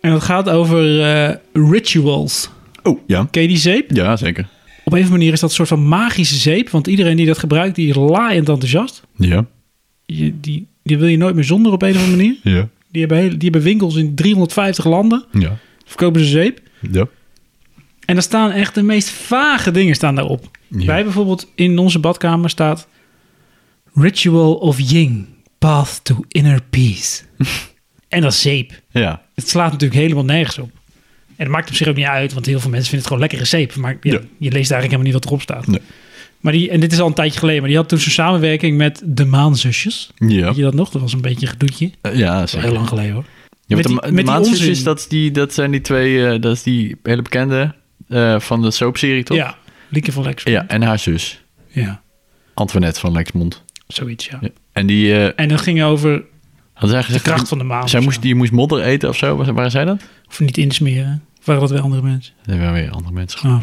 [SPEAKER 1] En dat gaat over eh, rituals.
[SPEAKER 2] Oh, ja.
[SPEAKER 1] Ken je die zeep?
[SPEAKER 2] Ja, zeker.
[SPEAKER 1] Op een of andere manier is dat een soort van magische zeep. Want iedereen die dat gebruikt, die is laaiend enthousiast.
[SPEAKER 2] Ja.
[SPEAKER 1] Je, die, die wil je nooit meer zonder op een of andere manier.
[SPEAKER 2] Ja.
[SPEAKER 1] Die hebben, hele- die hebben winkels in 350 landen.
[SPEAKER 2] Ja.
[SPEAKER 1] Verkopen ze zeep.
[SPEAKER 2] Ja.
[SPEAKER 1] En daar staan echt de meest vage dingen staan daarop.
[SPEAKER 2] Ja.
[SPEAKER 1] Wij bijvoorbeeld in onze badkamer staat... Ritual of Ying, Path to Inner Peace. en dat is zeep.
[SPEAKER 2] Ja.
[SPEAKER 1] Het slaat natuurlijk helemaal nergens op. En dat maakt op zich ook niet uit, want heel veel mensen vinden het gewoon lekkere zeep. Maar ja,
[SPEAKER 2] Ja.
[SPEAKER 1] je leest eigenlijk helemaal niet wat erop staat.
[SPEAKER 2] Nee.
[SPEAKER 1] Maar die, en dit is al een tijdje geleden, maar die had toen zijn samenwerking met de Maanzusjes.
[SPEAKER 2] Ja.
[SPEAKER 1] Weet je dat nog? Dat was een beetje een gedoetje. Dat
[SPEAKER 2] Ja,
[SPEAKER 1] is
[SPEAKER 2] zeker.
[SPEAKER 1] heel lang geleden hoor.
[SPEAKER 2] Ja,
[SPEAKER 1] Met
[SPEAKER 2] want
[SPEAKER 1] die- met
[SPEAKER 2] de,
[SPEAKER 1] die
[SPEAKER 2] de maanzusjes,
[SPEAKER 1] onzin.
[SPEAKER 2] dat, is die, dat zijn die twee, eh, dat is die hele bekende eh, van de soapserie, toch?
[SPEAKER 1] Ja, Lieke van Lex.
[SPEAKER 2] Ja, en haar zus,
[SPEAKER 1] Ja,
[SPEAKER 2] Antoinette van Lexmond.
[SPEAKER 1] zoiets ja.
[SPEAKER 2] Ja. En die eh
[SPEAKER 1] En dat ging over
[SPEAKER 2] had zij
[SPEAKER 1] de
[SPEAKER 2] gezegd...
[SPEAKER 1] kracht van de maan.
[SPEAKER 2] zij
[SPEAKER 1] of
[SPEAKER 2] moest,
[SPEAKER 1] zo.
[SPEAKER 2] die moest modder eten of zo, was- waren zij dat?
[SPEAKER 1] Of niet insmeren. Of waren dat weer andere mensen?
[SPEAKER 2] Dat hebben weer andere mensen Ah,
[SPEAKER 1] Oh.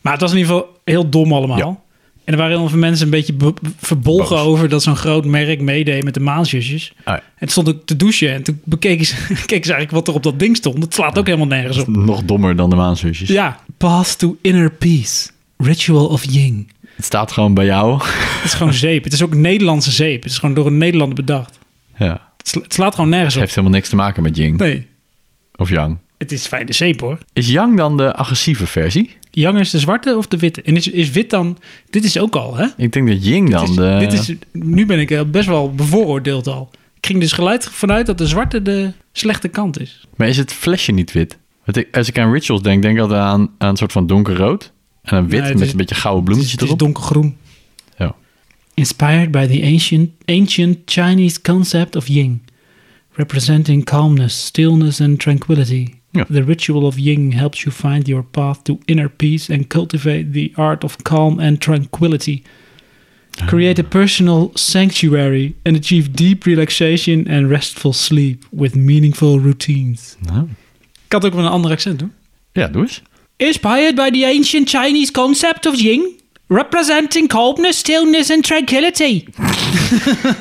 [SPEAKER 1] Maar het was in ieder geval heel dom allemaal. En er waren heel veel mensen een beetje be- verbolgen
[SPEAKER 2] Boos.
[SPEAKER 1] over dat zo'n groot merk meedeed met de maanzusjes.
[SPEAKER 2] Ah, ja.
[SPEAKER 1] En toen stond ik te douchen en toen bekeken ze, keken ze eigenlijk wat er op dat ding stond. Het slaat ook helemaal nergens op.
[SPEAKER 2] Nog dommer dan de maanzusjes.
[SPEAKER 1] Ja. Path to inner peace. Ritual of Ying.
[SPEAKER 2] Het staat gewoon bij jou.
[SPEAKER 1] Het is gewoon zeep. Het is ook Nederlandse zeep. Het is gewoon door een Nederlander bedacht.
[SPEAKER 2] ja.
[SPEAKER 1] Het, sla- het slaat gewoon nergens
[SPEAKER 2] Het
[SPEAKER 1] op.
[SPEAKER 2] heeft helemaal niks te maken met Jing
[SPEAKER 1] Nee.
[SPEAKER 2] of Yang.
[SPEAKER 1] Het is fijne zeep hoor.
[SPEAKER 2] Is Yang dan de agressieve versie?
[SPEAKER 1] Yang is de zwarte of de witte? En is, is wit dan... Dit is ook al, hè?
[SPEAKER 2] Ik denk dat Jing dan
[SPEAKER 1] Dit is-
[SPEAKER 2] de...
[SPEAKER 1] dit is, nu ben ik eh, best wel bevooroordeeld al. Ik ging dus geluid vanuit dat de zwarte de slechte kant is.
[SPEAKER 2] Maar is het flesje niet wit? Want ik, als ik aan rituals denk, denk ik altijd aan, aan een soort van donkerrood. En een wit
[SPEAKER 1] Nee, het
[SPEAKER 2] met
[SPEAKER 1] is-
[SPEAKER 2] een beetje gouden
[SPEAKER 1] Het is,
[SPEAKER 2] bloemetjes
[SPEAKER 1] het is
[SPEAKER 2] erop.
[SPEAKER 1] donkergroen.
[SPEAKER 2] Ja.
[SPEAKER 1] Inspired by the ancient, ancient Chinese concept of yin. Representing calmness, stillness and tranquility.
[SPEAKER 2] Ja.
[SPEAKER 1] The ritual of yin helps you find your path to inner peace and cultivate the art of calm and tranquility.
[SPEAKER 2] Ah.
[SPEAKER 1] Create a personal sanctuary and achieve deep relaxation and restful sleep with meaningful routines.
[SPEAKER 2] Nou,
[SPEAKER 1] Ik kan het ook met een ander accent doen.
[SPEAKER 2] ja, doe eens.
[SPEAKER 1] Inspired by the ancient Chinese concept of yin, representing calmness, stillness and tranquility.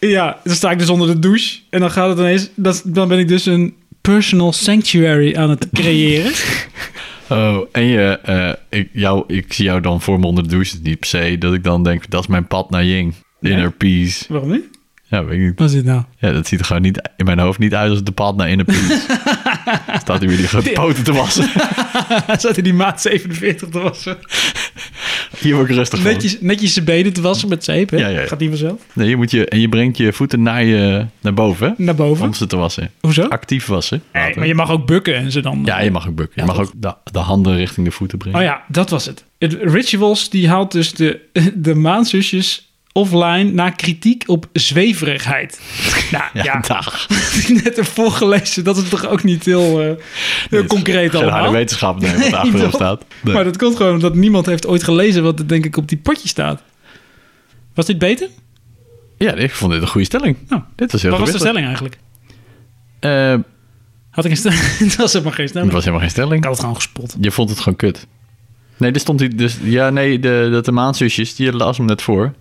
[SPEAKER 1] ja, dan sta ik dus onder de douche en dan gaat het ineens. dat- dan ben ik dus een personal sanctuary aan het creëren.
[SPEAKER 2] Oh, en je, eh, ik, jou, ik zie jou dan voor me onder de douche. Het is Niet per se dat ik dan denk, dat is mijn pad naar Ying. Inner peace.
[SPEAKER 1] Waarom niet?
[SPEAKER 2] Ja, weet ik niet.
[SPEAKER 1] Wat is dit nou?
[SPEAKER 2] Ja, dat ziet er gewoon niet, in mijn hoofd niet uit als de pad naar inner peace. Staat hier weer die grote poten te wassen.
[SPEAKER 1] Zat in die maat 47 te wassen.
[SPEAKER 2] Hier word ik rustig van.
[SPEAKER 1] Netjes, netjes zijn benen te wassen met zeep, hè?
[SPEAKER 2] Ja, ja, ja.
[SPEAKER 1] Gaat niet vanzelf.
[SPEAKER 2] Nee, je moet je, en je brengt je voeten naar, je, naar boven, hè?
[SPEAKER 1] Naar boven.
[SPEAKER 2] Om ze te wassen.
[SPEAKER 1] Hoezo?
[SPEAKER 2] Actief wassen.
[SPEAKER 1] Nee, maar je mag ook bukken en ze dan...
[SPEAKER 2] Ja, je mag ook bukken. Je mag ook de, de handen richting de voeten brengen.
[SPEAKER 1] Oh ja, dat was het. het Rituals die haalt dus de, de maanzusjes offline na kritiek op zweverigheid. Nou ja,
[SPEAKER 2] dag.
[SPEAKER 1] net ervoor gelezen, dat is toch ook niet heel, eh, heel concreet
[SPEAKER 2] Geen harde
[SPEAKER 1] allemaal.
[SPEAKER 2] wetenschap, nee,
[SPEAKER 1] Nee,
[SPEAKER 2] wat achterop
[SPEAKER 1] toch?
[SPEAKER 2] staat. Nee.
[SPEAKER 1] Maar dat komt gewoon omdat niemand heeft ooit gelezen wat er denk ik op die potje staat. Was dit beter?
[SPEAKER 2] Ja, ik vond dit een goede stelling.
[SPEAKER 1] Nou,
[SPEAKER 2] Dit was heel
[SPEAKER 1] Wat was de
[SPEAKER 2] gewichtig.
[SPEAKER 1] stelling eigenlijk?
[SPEAKER 2] Eh,
[SPEAKER 1] Had ik een stelling? Het was helemaal geen
[SPEAKER 2] het
[SPEAKER 1] stelling.
[SPEAKER 2] was helemaal geen
[SPEAKER 1] Ik
[SPEAKER 2] stelling.
[SPEAKER 1] had het gewoon gespot.
[SPEAKER 2] Je vond het gewoon kut. Nee, dit stond hier dus... Ja, nee, de, dat de maanzusjes, die las hem net voor.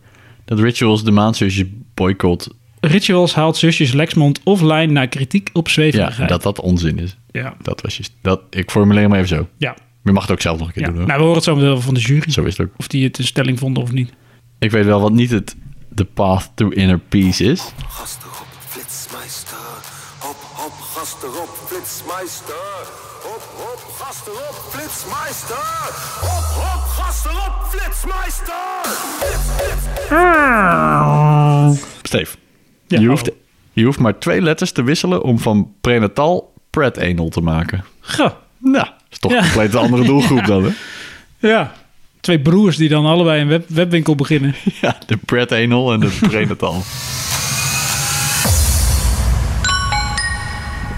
[SPEAKER 2] Dat Rituals de maanzusjes boycott.
[SPEAKER 1] Rituals haalt zusjes Lexmond offline na kritiek op
[SPEAKER 2] Ja,
[SPEAKER 1] zweverigheid.
[SPEAKER 2] dat dat onzin is.
[SPEAKER 1] ja.
[SPEAKER 2] Dat was je... Dat, ik formuleer hem even zo.
[SPEAKER 1] ja.
[SPEAKER 2] Je mag het ook zelf nog een keer
[SPEAKER 1] ja.
[SPEAKER 2] doen, hoor.
[SPEAKER 1] Nou, we horen het zo meteen wel van de jury.
[SPEAKER 2] Zo is het ook.
[SPEAKER 1] Of die het een stelling vonden of niet.
[SPEAKER 2] Ik weet wel wat niet het... The path to inner peace is.
[SPEAKER 4] Gas erop, flitsmeister. Hop, hop, gas erop, flitsmeister. Hop, hop, gas erop, flitsmeister. Hop, hop, gas erop, flitsmeister. Flits, flits,
[SPEAKER 2] Steef,
[SPEAKER 1] Ja,
[SPEAKER 2] je,
[SPEAKER 1] oh.
[SPEAKER 2] hoeft, je hoeft maar twee letters te wisselen om van prenatal pret anal te maken.
[SPEAKER 1] Goh.
[SPEAKER 2] Nou, dat is toch
[SPEAKER 1] Ja.
[SPEAKER 2] een compleet andere doelgroep dan, hè?
[SPEAKER 1] Ja. Twee broers die dan allebei een web, webwinkel beginnen.
[SPEAKER 2] Ja, de pret anal en de prenatal.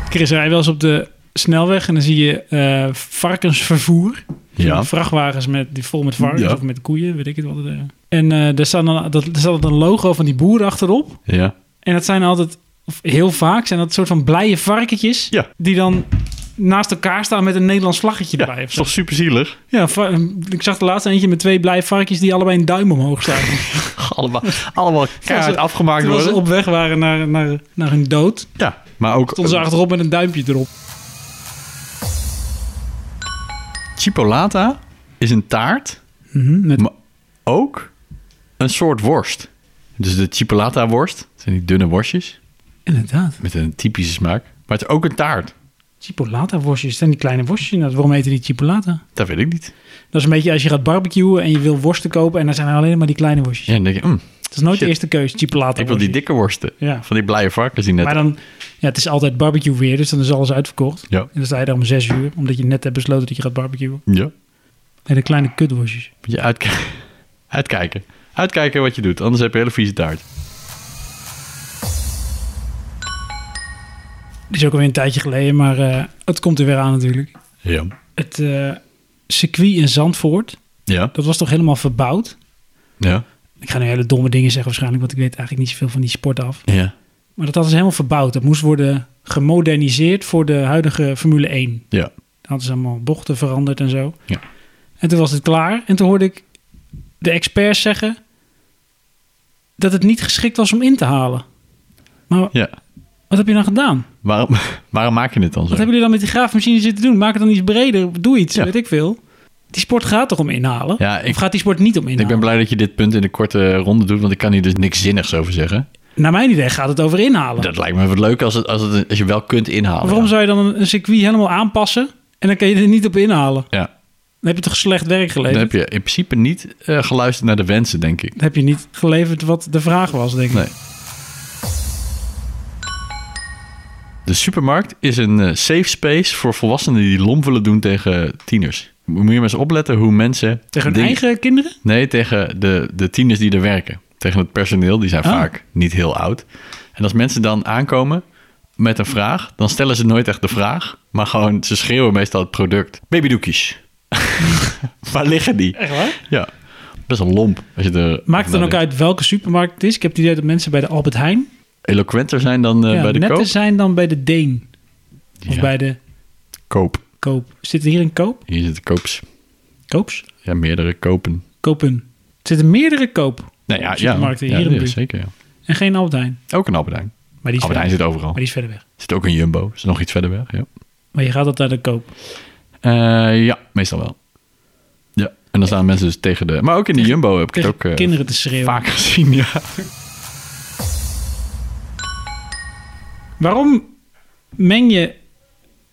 [SPEAKER 1] Chris, rij wel eens op de snelweg en dan zie je eh, varkensvervoer.
[SPEAKER 2] Ja.
[SPEAKER 1] Vrachtwagens met, die vol met varkens
[SPEAKER 2] Ja.
[SPEAKER 1] of met koeien, weet ik het wat. het, eh. En eh daar staat dan, dat, er staat altijd een logo van die boer achterop.
[SPEAKER 2] ja.
[SPEAKER 1] En dat zijn altijd, of heel vaak, zijn dat soort van blije varkentjes.
[SPEAKER 2] Ja.
[SPEAKER 1] Die dan naast elkaar staan met een Nederlands vlaggetje
[SPEAKER 2] Ja,
[SPEAKER 1] erbij. Of
[SPEAKER 2] is
[SPEAKER 1] zo.
[SPEAKER 2] toch super zielig?
[SPEAKER 1] Ja, va- ik zag de laatste eentje met twee blije varkens die allebei een duim omhoog staken.
[SPEAKER 2] Allemaal, allemaal keihard
[SPEAKER 1] Terwijl ze-
[SPEAKER 2] afgemaakt
[SPEAKER 1] Terwijl ze
[SPEAKER 2] worden.
[SPEAKER 1] op weg waren naar, naar, naar hun dood.
[SPEAKER 2] Ja, maar ook
[SPEAKER 1] Stonden ze
[SPEAKER 2] eh,
[SPEAKER 1] achterop met een duimpje erop.
[SPEAKER 2] chipolata is een taart,
[SPEAKER 1] met-
[SPEAKER 2] maar ook een soort worst. Dus de chipolata worst, dat zijn die dunne worstjes
[SPEAKER 1] Inderdaad.
[SPEAKER 2] met een typische smaak. Maar het is ook een taart,
[SPEAKER 1] Chipolata worstjes. Dat zijn die kleine worstjes. inderdaad. waarom heten die chipolata?
[SPEAKER 2] dat weet ik niet.
[SPEAKER 1] Dat is een beetje als je gaat barbecuen en je wil worsten kopen. En dan zijn er alleen maar die kleine worstjes.
[SPEAKER 2] Ja, dan denk je, mm,
[SPEAKER 1] Dat is nooit de
[SPEAKER 2] Shit.
[SPEAKER 1] eerste keus, chipolata
[SPEAKER 2] ik wil die
[SPEAKER 1] worstjes.
[SPEAKER 2] dikke worsten.
[SPEAKER 1] Ja.
[SPEAKER 2] Van die blije varkens die net...
[SPEAKER 1] Maar dan, ja, het is altijd barbecue weer. Dus dan is alles uitverkocht.
[SPEAKER 2] Ja.
[SPEAKER 1] En dan sta je daar om zes uur. Omdat je net hebt besloten dat je gaat barbecuen.
[SPEAKER 2] ja.
[SPEAKER 1] En de kleine kutworstjes.
[SPEAKER 2] Moet je uitkijken. uitkijken. Uitkijken wat je doet, anders heb je een hele vieze taart.
[SPEAKER 1] Die is ook alweer een tijdje geleden. Maar eh, het komt er weer aan natuurlijk.
[SPEAKER 2] Ja.
[SPEAKER 1] Het eh, circuit in Zandvoort.
[SPEAKER 2] Ja.
[SPEAKER 1] Dat was toch helemaal verbouwd?
[SPEAKER 2] Ja.
[SPEAKER 1] Ik ga nu hele domme dingen zeggen waarschijnlijk, want ik weet eigenlijk niet zoveel van die sport af.
[SPEAKER 2] Ja.
[SPEAKER 1] Maar dat hadden ze helemaal verbouwd. Dat moest worden gemoderniseerd voor de huidige Formule 1. Dan
[SPEAKER 2] Ja.
[SPEAKER 1] hadden ze allemaal bochten veranderd en zo.
[SPEAKER 2] Ja.
[SPEAKER 1] En toen was het klaar. En toen hoorde ik de experts zeggen dat het niet geschikt was om in te halen. Maar
[SPEAKER 2] ja.
[SPEAKER 1] wat heb je dan gedaan?
[SPEAKER 2] Waarom, waarom maak je het dan zo?
[SPEAKER 1] Wat hebben jullie dan met die graafmachine zitten doen? Maak het dan iets breder. Doe iets,
[SPEAKER 2] Ja.
[SPEAKER 1] weet ik veel. Die sport gaat toch om inhalen?
[SPEAKER 2] Ja, ik-
[SPEAKER 1] of gaat die sport niet om inhalen?
[SPEAKER 2] ik ben blij dat je dit punt in de korte ronde doet, want ik kan hier dus niks zinnigs over zeggen.
[SPEAKER 1] Naar mijn idee gaat het over inhalen.
[SPEAKER 2] Dat lijkt me wat leuk als, het, als, het, als je wel kunt inhalen.
[SPEAKER 1] Maar waarom
[SPEAKER 2] Oh, ja.
[SPEAKER 1] zou je dan een, een circuit helemaal aanpassen en dan kan je er niet op inhalen?
[SPEAKER 2] Ja.
[SPEAKER 1] Dan heb je toch slecht werk
[SPEAKER 2] Dan
[SPEAKER 1] geleverd?
[SPEAKER 2] heb je in principe niet eh, geluisterd naar de wensen, denk ik.
[SPEAKER 1] Dan heb je niet geleverd wat de vraag was, denk ik.
[SPEAKER 2] Nee. De supermarkt is een eh, safe space voor volwassenen die lomp willen doen tegen tieners. Moet je maar eens opletten hoe mensen...
[SPEAKER 1] Tegen hun
[SPEAKER 2] dingen-
[SPEAKER 1] eigen kinderen?
[SPEAKER 2] Nee, tegen de, de tieners die er werken. Tegen het personeel, die zijn
[SPEAKER 1] Oh.
[SPEAKER 2] vaak niet heel oud. En als mensen dan aankomen met een vraag, dan stellen ze nooit echt de vraag. Maar gewoon, ze schreeuwen meestal het product. Babydoekjes. Waar liggen die?
[SPEAKER 1] Echt waar?
[SPEAKER 2] Ja, best een lomp. Als je er
[SPEAKER 1] Maakt het dan ook
[SPEAKER 2] nadenkt.
[SPEAKER 1] uit welke supermarkt het is? Ik heb het idee dat mensen bij de Albert Heijn
[SPEAKER 2] Eloquenter zijn dan eh,
[SPEAKER 1] ja,
[SPEAKER 2] bij de
[SPEAKER 1] netter
[SPEAKER 2] koop?
[SPEAKER 1] zijn dan bij de Deen. Of
[SPEAKER 2] Ja.
[SPEAKER 1] bij de
[SPEAKER 2] Koop.
[SPEAKER 1] Koop. Zit er hier een Koop?
[SPEAKER 2] Hier zitten koops.
[SPEAKER 1] Koops?
[SPEAKER 2] Ja, meerdere kopen.
[SPEAKER 1] Kopen. Er zitten meerdere Koop
[SPEAKER 2] Nou ja, ja,
[SPEAKER 1] Supermarkten hier
[SPEAKER 2] ja,
[SPEAKER 1] in de
[SPEAKER 2] ja,
[SPEAKER 1] buurt.
[SPEAKER 2] zeker. Ja.
[SPEAKER 1] en geen Albert Heijn.
[SPEAKER 2] Ook een Albert Heijn.
[SPEAKER 1] Maar die is,
[SPEAKER 2] Albert
[SPEAKER 1] verder,
[SPEAKER 2] Heijn zit overal.
[SPEAKER 1] maar die is verder weg.
[SPEAKER 2] Zit ook een Jumbo. Is nog iets verder weg, ja.
[SPEAKER 1] Maar je gaat altijd naar de Koop.
[SPEAKER 2] Eh, ja, Meestal wel. Ja, en dan staan mensen dus tegen de... Maar ook in de Jumbo heb ik het
[SPEAKER 1] Tegen
[SPEAKER 2] ook eh,
[SPEAKER 1] kinderen te schreeuwen.
[SPEAKER 2] vaak gezien, ja.
[SPEAKER 1] Waarom meng je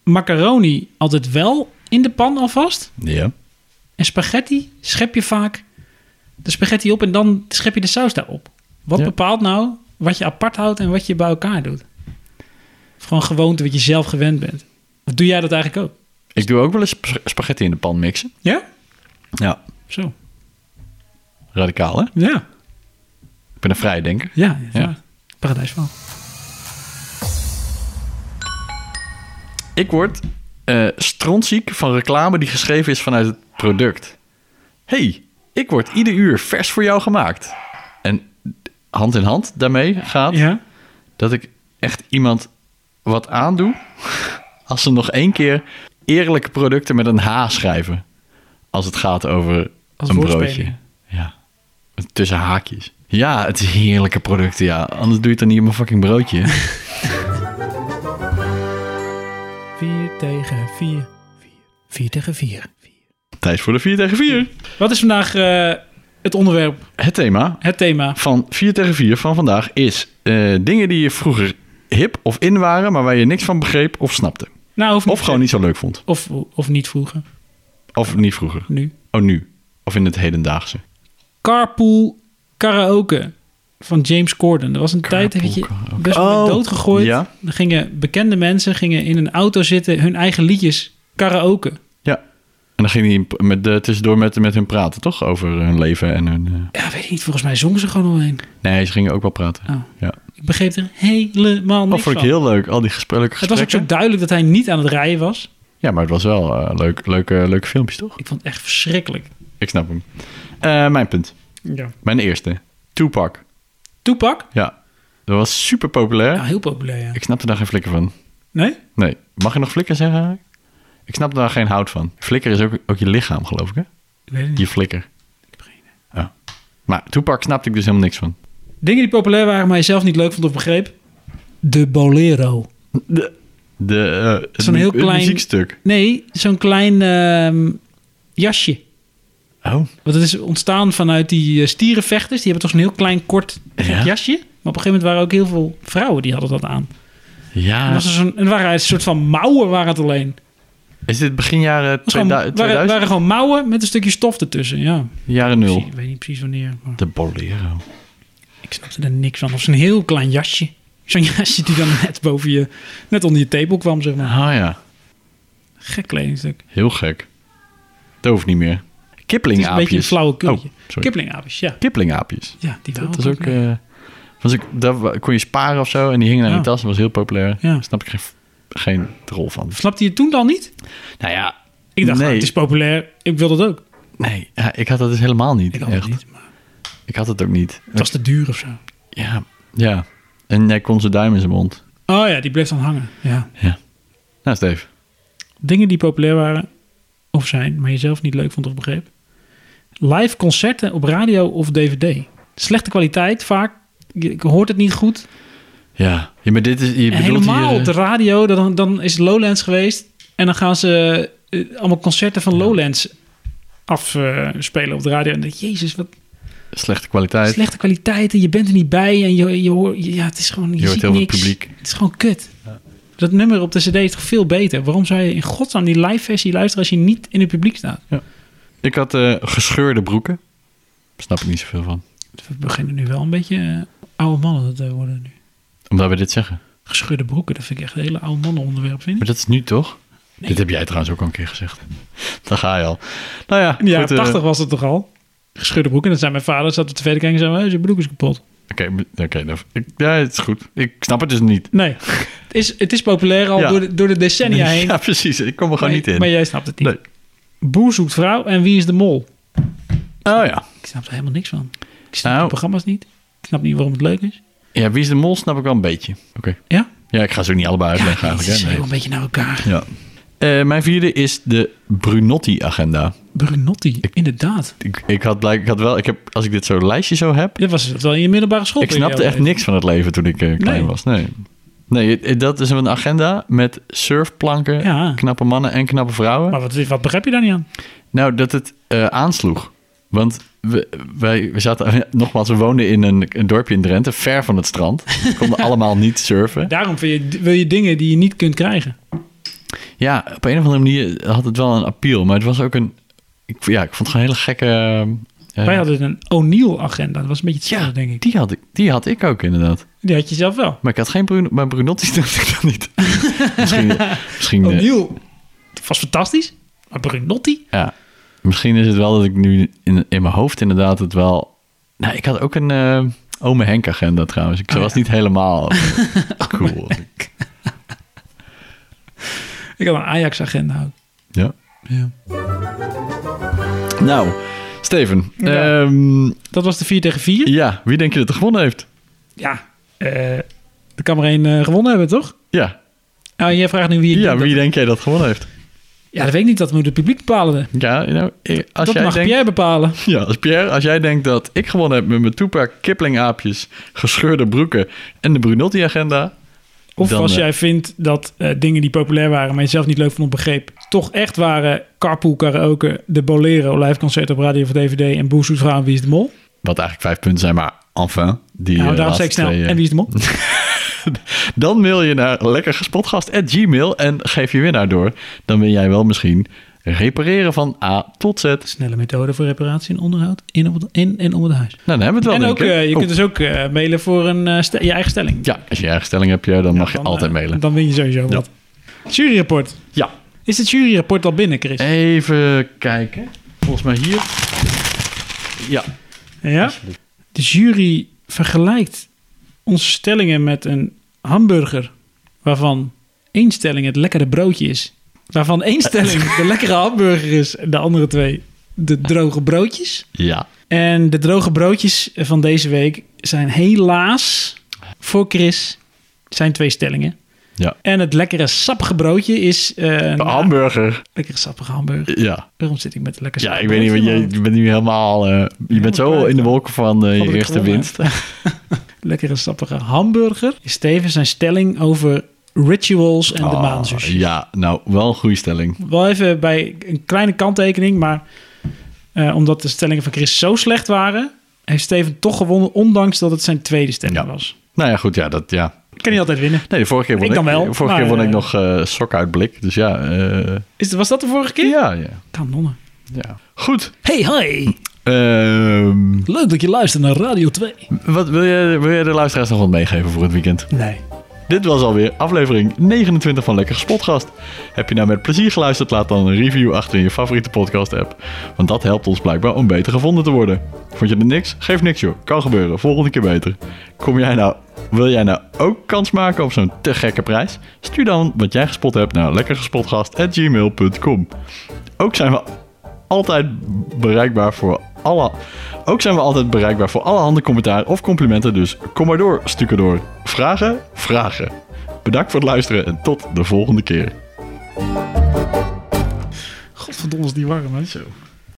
[SPEAKER 1] macaroni altijd wel in de pan alvast?
[SPEAKER 2] Ja.
[SPEAKER 1] En spaghetti schep je vaak de spaghetti op en dan schep je de saus daarop. Wat
[SPEAKER 2] Ja.
[SPEAKER 1] bepaalt nou wat je apart houdt en wat je bij elkaar doet? Of gewoon gewoonte wat je zelf gewend bent. Of doe jij dat eigenlijk ook?
[SPEAKER 2] Ik doe ook wel eens sp- spaghetti in de pan mixen.
[SPEAKER 1] Ja?
[SPEAKER 2] Ja.
[SPEAKER 1] Zo.
[SPEAKER 2] Radicaal, hè?
[SPEAKER 1] Ja.
[SPEAKER 2] Ik ben een vrijdenker.
[SPEAKER 1] Ja. ja.
[SPEAKER 2] Ja.
[SPEAKER 1] Paradijs van.
[SPEAKER 2] Ik word eh strontziek van reclame die geschreven is vanuit het product. hey, ik word ieder uur vers voor jou gemaakt. En hand in hand daarmee gaat
[SPEAKER 1] Ja.
[SPEAKER 2] dat ik echt iemand wat aandoe... als ze nog één keer eerlijke producten met een H schrijven. Als het gaat over
[SPEAKER 1] Als
[SPEAKER 2] een
[SPEAKER 1] woordspeling.
[SPEAKER 2] broodje. Ja, tussen haakjes. Ja, het is heerlijke producten, ja. Anders doe je het dan niet op een fucking broodje.
[SPEAKER 1] 4 tegen 4. 4 tegen 4.
[SPEAKER 2] Tijd voor de 4 tegen 4.
[SPEAKER 1] Wat is vandaag eh, het onderwerp,
[SPEAKER 2] Het thema
[SPEAKER 1] het thema?
[SPEAKER 2] van 4 tegen 4 van vandaag is eh, dingen die je vroeger hip of in waren, maar waar je niks van begreep of snapte.
[SPEAKER 1] Nou, hoeft
[SPEAKER 2] Of gewoon niet zo leuk vond.
[SPEAKER 1] Of, of niet vroeger,
[SPEAKER 2] Of niet vroeger.
[SPEAKER 1] nu.
[SPEAKER 2] Oh, nu. Of in het hedendaagse.
[SPEAKER 1] Carpool Karaoke van James Corden. Er was een tijd, heb je
[SPEAKER 2] karaoke.
[SPEAKER 1] best wel
[SPEAKER 2] Oh,
[SPEAKER 1] mee doodgegooid.
[SPEAKER 2] ja.
[SPEAKER 1] Er gingen bekende mensen gingen in een auto zitten hun eigen liedjes karaoke.
[SPEAKER 2] Ja. En dan ging hij met, de, tussendoor met, met hun praten, toch? Over hun leven en hun... eh,
[SPEAKER 1] Ja, weet ik niet. Volgens mij zongen ze gewoon omheen.
[SPEAKER 2] Nee, ze gingen ook wel praten.
[SPEAKER 1] Oh.
[SPEAKER 2] Ja.
[SPEAKER 1] Ik begreep er helemaal
[SPEAKER 2] Dat
[SPEAKER 1] niks
[SPEAKER 2] Oh, vond ik
[SPEAKER 1] van.
[SPEAKER 2] heel leuk, al die gesprekken.
[SPEAKER 1] Het was ook zo duidelijk dat hij niet aan het rijden was.
[SPEAKER 2] Ja, maar het was wel eh, leuk, leuke, leuke filmpjes, toch?
[SPEAKER 1] Ik vond het echt verschrikkelijk.
[SPEAKER 2] Ik snap hem. Eh, mijn punt.
[SPEAKER 1] Ja.
[SPEAKER 2] Mijn eerste. Tupac.
[SPEAKER 1] Toepak?
[SPEAKER 2] Ja. Dat was super populair.
[SPEAKER 1] Ja, heel populair. ja.
[SPEAKER 2] Ik snapte daar geen flikker van.
[SPEAKER 1] Nee?
[SPEAKER 2] Nee. Mag je nog flikker zeggen? eigenlijk? Ik snap daar geen hout van. Flikker is ook, ook je lichaam, geloof ik, hè?
[SPEAKER 1] Ik weet het niet.
[SPEAKER 2] Je flikker. Ja. Maar Tupac snapte ik dus helemaal niks van.
[SPEAKER 1] Dingen die populair waren, maar je zelf niet leuk vond of begreep. De Bolero.
[SPEAKER 2] De, de, eh, het,
[SPEAKER 1] Zo'n
[SPEAKER 2] mu-
[SPEAKER 1] heel
[SPEAKER 2] het
[SPEAKER 1] klein-
[SPEAKER 2] muziekstuk.
[SPEAKER 1] Nee, zo'n klein ehm, jasje.
[SPEAKER 2] Oh.
[SPEAKER 1] Want het is ontstaan vanuit die eh, stierenvechters. Die hebben toch zo'n heel klein, kort gek
[SPEAKER 2] Ja.
[SPEAKER 1] jasje. Maar op een gegeven moment waren ook heel veel vrouwen die hadden dat aan. En
[SPEAKER 2] Ja.
[SPEAKER 1] was er zo'n, en waren een soort van mouwen waren het alleen.
[SPEAKER 2] Is dit begin jaren
[SPEAKER 1] Het was gewoon,
[SPEAKER 2] 2000?
[SPEAKER 1] waren, waren gewoon mouwen met een stukje stof ertussen. Ja.
[SPEAKER 2] Jaren nul.
[SPEAKER 1] Precies, Ik weet niet precies wanneer. Maar
[SPEAKER 2] De Bolero.
[SPEAKER 1] ik snapte er niks van. Of zo'n heel klein jasje. Zo'n jasje die dan net boven je, net onder je tepel kwam, zeg maar.
[SPEAKER 2] Ah ja.
[SPEAKER 1] Gek kledingstuk. Het
[SPEAKER 2] Heel gek. Dat hoeft niet
[SPEAKER 1] is een
[SPEAKER 2] meer.
[SPEAKER 1] beetje een
[SPEAKER 2] Kiplingaapjes.
[SPEAKER 1] flauwe
[SPEAKER 2] Oh,
[SPEAKER 1] kulletje.
[SPEAKER 2] sorry.
[SPEAKER 1] Kiplingaapjes, ja.
[SPEAKER 2] Kiplingaapjes.
[SPEAKER 1] Ja, die waren
[SPEAKER 2] Dat was ook...
[SPEAKER 1] leuk.
[SPEAKER 2] eh, was ook daar wa- kon je sparen of zo en die hingen aan
[SPEAKER 1] Ja.
[SPEAKER 2] je tas. Dat was heel populair.
[SPEAKER 1] Ja.
[SPEAKER 2] Daar snap ik geen, geen rol van.
[SPEAKER 1] Snapte je het toen dan niet?
[SPEAKER 2] Nou ja,
[SPEAKER 1] Ik dacht,
[SPEAKER 2] nee,
[SPEAKER 1] nou, het is populair. Ik wil dat ook.
[SPEAKER 2] nee ja, ik had dat dus helemaal
[SPEAKER 1] Ik
[SPEAKER 2] niet. Ik
[SPEAKER 1] had
[SPEAKER 2] echt.
[SPEAKER 1] het niet. Maar
[SPEAKER 2] Ik had het ook niet.
[SPEAKER 1] het was te duur of zo.
[SPEAKER 2] Ja, ja. En jij kon zijn duim in zijn mond.
[SPEAKER 1] Oh ja, die bleef dan hangen. Ja.
[SPEAKER 2] Ja. Nou, Steve.
[SPEAKER 1] Dingen die populair waren of zijn, maar je zelf niet leuk vond of begreep. Live concerten op radio of dvd. Slechte kwaliteit vaak. Je- Ik hoort het niet goed.
[SPEAKER 2] Ja. ja maar dit is... Je
[SPEAKER 1] En
[SPEAKER 2] bedoelt
[SPEAKER 1] helemaal
[SPEAKER 2] hier,
[SPEAKER 1] op
[SPEAKER 2] eh,
[SPEAKER 1] de radio. Dan, dan is het Lowlands geweest. En dan gaan ze eh, allemaal concerten van Lowlands afspelen op de radio. En dan denk je, jezus, wat
[SPEAKER 2] slechte kwaliteit.
[SPEAKER 1] slechte kwaliteiten. Je bent er niet bij. En je, je hoort, ja, het is gewoon, je,
[SPEAKER 2] hoort
[SPEAKER 1] ziet
[SPEAKER 2] heel veel
[SPEAKER 1] niks.
[SPEAKER 2] publiek.
[SPEAKER 1] Het is gewoon kut. Dat nummer op de cd is toch veel beter? Waarom zou je in godsnaam die live versie luisteren als je niet in het publiek staat?
[SPEAKER 2] Ik had eh, gescheurde broeken. Snap ik niet zoveel van.
[SPEAKER 1] We beginnen nu wel een beetje eh, oude mannen te worden nu.
[SPEAKER 2] Omdat we dit zeggen.
[SPEAKER 1] Gescheurde broeken, dat vind ik echt een hele oude mannen onderwerp, vind
[SPEAKER 2] Maar
[SPEAKER 1] ik.
[SPEAKER 2] dat is nu toch? Dit heb jij trouwens ook al een keer gezegd. Daar ga je al. Nou ja,
[SPEAKER 1] In de jaren
[SPEAKER 2] goed, eh,
[SPEAKER 1] 80 was het toch al? Gescheurde broeken, dat zijn mijn vader, zat op tv te kijken en zei, "Hé, zijn broek is kapot.
[SPEAKER 2] Oké, m- oké. nou, ik- ja, het is goed. Ik snap het dus niet.
[SPEAKER 1] Nee, het is, het is populair al
[SPEAKER 2] Ja.
[SPEAKER 1] door, de, door de decennia heen.
[SPEAKER 2] Ja, precies. Ik kom er gewoon
[SPEAKER 1] maar,
[SPEAKER 2] niet in.
[SPEAKER 1] Maar jij snapt het niet.
[SPEAKER 2] Nee.
[SPEAKER 1] Boer zoekt vrouw en wie is de mol?
[SPEAKER 2] Oh ja.
[SPEAKER 1] Ik snap er helemaal niks van. Ik snap
[SPEAKER 2] Nou.
[SPEAKER 1] de programma's niet. Ik snap niet waarom het leuk is.
[SPEAKER 2] Ja, wie is de mol snap ik wel een beetje. Oké.
[SPEAKER 1] Ja?
[SPEAKER 2] Ja, ik ga ze ook niet allebei
[SPEAKER 1] Ja,
[SPEAKER 2] uitleggen
[SPEAKER 1] het is
[SPEAKER 2] eigenlijk. Hè?
[SPEAKER 1] heel
[SPEAKER 2] Nee.
[SPEAKER 1] een beetje naar elkaar.
[SPEAKER 2] Ja. Eh, mijn vierde is de Brunotti-agenda.
[SPEAKER 1] Brunotti, inderdaad.
[SPEAKER 2] Ik, ik, had, blijk- ik had wel, ik heb, als ik dit zo'n lijstje zo heb,
[SPEAKER 1] Dit was het wel in je middelbare school.
[SPEAKER 2] ik snapte echt niks van het leven toen ik eh, klein
[SPEAKER 1] Nee.
[SPEAKER 2] was. Nee. Nee, dat is een agenda met surfplanken,
[SPEAKER 1] Ja.
[SPEAKER 2] knappe mannen en knappe vrouwen.
[SPEAKER 1] Maar wat, wat begrijp je daar niet aan?
[SPEAKER 2] Nou, dat het eh, aansloeg. Want we, wij, we zaten, nogmaals, we woonden in een, een dorpje in Drenthe, ver van het strand. We konden allemaal niet surfen.
[SPEAKER 1] Daarom wil je, wil je dingen die je niet kunt krijgen.
[SPEAKER 2] Ja, op een of andere manier had het wel een appeal, maar het was ook een... Ik, ja, ik vond het gewoon een hele gekke... eh,
[SPEAKER 1] Wij hadden een O'Neill-agenda. Dat was een beetje hetzelfde,
[SPEAKER 2] ja,
[SPEAKER 1] denk ik.
[SPEAKER 2] Die had, ik, die had ik ook inderdaad.
[SPEAKER 1] Die had je zelf wel.
[SPEAKER 2] Maar ik had geen Bruno, maar Brunotti durfde ik dat niet. misschien, misschien, eh,
[SPEAKER 1] O'Neill was fantastisch. Maar Brunotti?
[SPEAKER 2] ja, misschien is het wel dat ik nu in, in mijn hoofd inderdaad het wel... Nou, ik had ook een eh ome Henk agenda trouwens. Ik was niet helemaal eh, cool.
[SPEAKER 1] Ik had een Ajax-agenda ook.
[SPEAKER 2] Ja. Nou, Steven. Ja.
[SPEAKER 1] Dat was de 4 tegen 4.
[SPEAKER 2] ja, wie denk je dat er gewonnen heeft?
[SPEAKER 1] Ja, eh er kan maar één eh, gewonnen hebben, toch?
[SPEAKER 2] Ja,
[SPEAKER 1] Nou, jij vraagt nu wie...
[SPEAKER 2] ja
[SPEAKER 1] dat-
[SPEAKER 2] wie denk jij dat gewonnen heeft?
[SPEAKER 1] ja, dat weet ik niet. Dat moet het publiek bepalen.
[SPEAKER 2] Ja, nou, eh, als
[SPEAKER 1] dat
[SPEAKER 2] jij
[SPEAKER 1] mag
[SPEAKER 2] denkt,
[SPEAKER 1] Pierre bepalen.
[SPEAKER 2] Ja, als Pierre, als jij denkt dat ik gewonnen heb met mijn toepak, Kipling-aapjes, gescheurde broeken en de Brunotti-agenda.
[SPEAKER 1] Of
[SPEAKER 2] Dan,
[SPEAKER 1] als
[SPEAKER 2] eh,
[SPEAKER 1] jij vindt dat eh, dingen die populair waren, maar je zelf niet leuk vond of begreep, toch echt waren carpool karaoke, de Bolero, live concert op radio of DVD en Boes Zoet Vrouw en Wie is de Mol.
[SPEAKER 2] Wat eigenlijk vijf punten zijn, maar enfin. Die,
[SPEAKER 1] nou, daarom zeg
[SPEAKER 2] eh, laatste
[SPEAKER 1] ik snel.
[SPEAKER 2] twee, eh,
[SPEAKER 1] En Wie is de Mol?
[SPEAKER 2] Dan mail je naar lekkergespotgast.gmail en geef je winnaar door. Dan ben jij wel misschien repareren van A tot Z. Nou,
[SPEAKER 1] Snelle methode voor reparatie en onderhoud in, op het, in en om het huis.
[SPEAKER 2] dan hebben we het wel,
[SPEAKER 1] en
[SPEAKER 2] denk
[SPEAKER 1] ook,
[SPEAKER 2] ik, hè?
[SPEAKER 1] eh, je
[SPEAKER 2] Oh.
[SPEAKER 1] kunt dus ook eh, mailen voor een, eh, ste- je eigen stelling.
[SPEAKER 2] Ja, als je eigen stelling hebt, ja, dan mag je
[SPEAKER 1] Dan,
[SPEAKER 2] altijd
[SPEAKER 1] eh,
[SPEAKER 2] mailen.
[SPEAKER 1] Dan win je sowieso wat. Juryrapport.
[SPEAKER 2] Ja.
[SPEAKER 1] Is het juryrapport al binnen, Chris?
[SPEAKER 2] Even kijken. Volgens mij hier. Ja.
[SPEAKER 1] Ja. De jury vergelijkt onze stellingen met een hamburger waarvan één stelling het lekkere broodje is. Waarvan één stelling de lekkere hamburger is en de andere twee de droge broodjes.
[SPEAKER 2] Ja.
[SPEAKER 1] En de droge broodjes van deze week zijn helaas voor Chris zijn twee stellingen.
[SPEAKER 2] Ja.
[SPEAKER 1] En het lekkere sappige broodje is eh, een
[SPEAKER 2] hamburger.
[SPEAKER 1] lekkere sappige hamburger.
[SPEAKER 2] Ja.
[SPEAKER 1] Waarom zit ik met lekker
[SPEAKER 2] Ja,
[SPEAKER 1] sappig
[SPEAKER 2] ik weet niet, want
[SPEAKER 1] broodje,
[SPEAKER 2] je,
[SPEAKER 1] man?
[SPEAKER 2] je bent nu helemaal... eh, je bent zo
[SPEAKER 1] kwijt,
[SPEAKER 2] in de wolken van eh,
[SPEAKER 1] Wat
[SPEAKER 2] je
[SPEAKER 1] ik
[SPEAKER 2] eerste
[SPEAKER 1] gewonnen
[SPEAKER 2] winst.
[SPEAKER 1] lekkere sappige hamburger. Is Steven zijn stelling over rituals en de
[SPEAKER 2] Ah,
[SPEAKER 1] maanzus.
[SPEAKER 2] ja, nou, wel een goede stelling.
[SPEAKER 1] Wel even bij een kleine kanttekening, maar eh, omdat de stellingen van Chris zo slecht waren, heeft Steven toch gewonnen, ondanks dat het zijn tweede stelling
[SPEAKER 2] Ja.
[SPEAKER 1] was.
[SPEAKER 2] Nou ja, goed, ja, dat, ja.
[SPEAKER 1] Ik kan niet altijd winnen.
[SPEAKER 2] Nee, de vorige keer won
[SPEAKER 1] Ik
[SPEAKER 2] ik,
[SPEAKER 1] dan wel,
[SPEAKER 2] vorige
[SPEAKER 1] maar,
[SPEAKER 2] keer won ik
[SPEAKER 1] eh,
[SPEAKER 2] nog eh sokuitblik. Dus ja, eh,
[SPEAKER 1] Is, was dat de vorige keer?
[SPEAKER 2] ja, ja,
[SPEAKER 1] Kanonnen.
[SPEAKER 2] ja. Goed.
[SPEAKER 1] Hey, hi.
[SPEAKER 2] Ehm,
[SPEAKER 1] Leuk dat je luistert naar Radio 2.
[SPEAKER 2] wat wil je, wil je de luisteraars nog wat meegeven voor het weekend?
[SPEAKER 1] Nee.
[SPEAKER 2] Dit was alweer aflevering 29 van Lekker Spotgast. Heb je nou met plezier geluisterd? Laat dan een review achter in je favoriete podcast app. Want dat helpt ons blijkbaar om beter gevonden te worden. Vond je er niks? Geef niks joh. Kan gebeuren. Volgende keer beter. Kom jij nou, wil jij nou ook kans maken op zo'n te gekke prijs? Stuur dan wat jij gespot hebt naar lekkergespotgast.gmail.com Ook zijn we altijd bereikbaar voor alle... Ook zijn we altijd bereikbaar voor alle handen commentaar of complimenten. Dus kom maar door, stukken door. Vragen? Vragen. Bedankt voor het luisteren en tot de volgende keer.
[SPEAKER 1] Godverdomme is die warm, hè? Zo.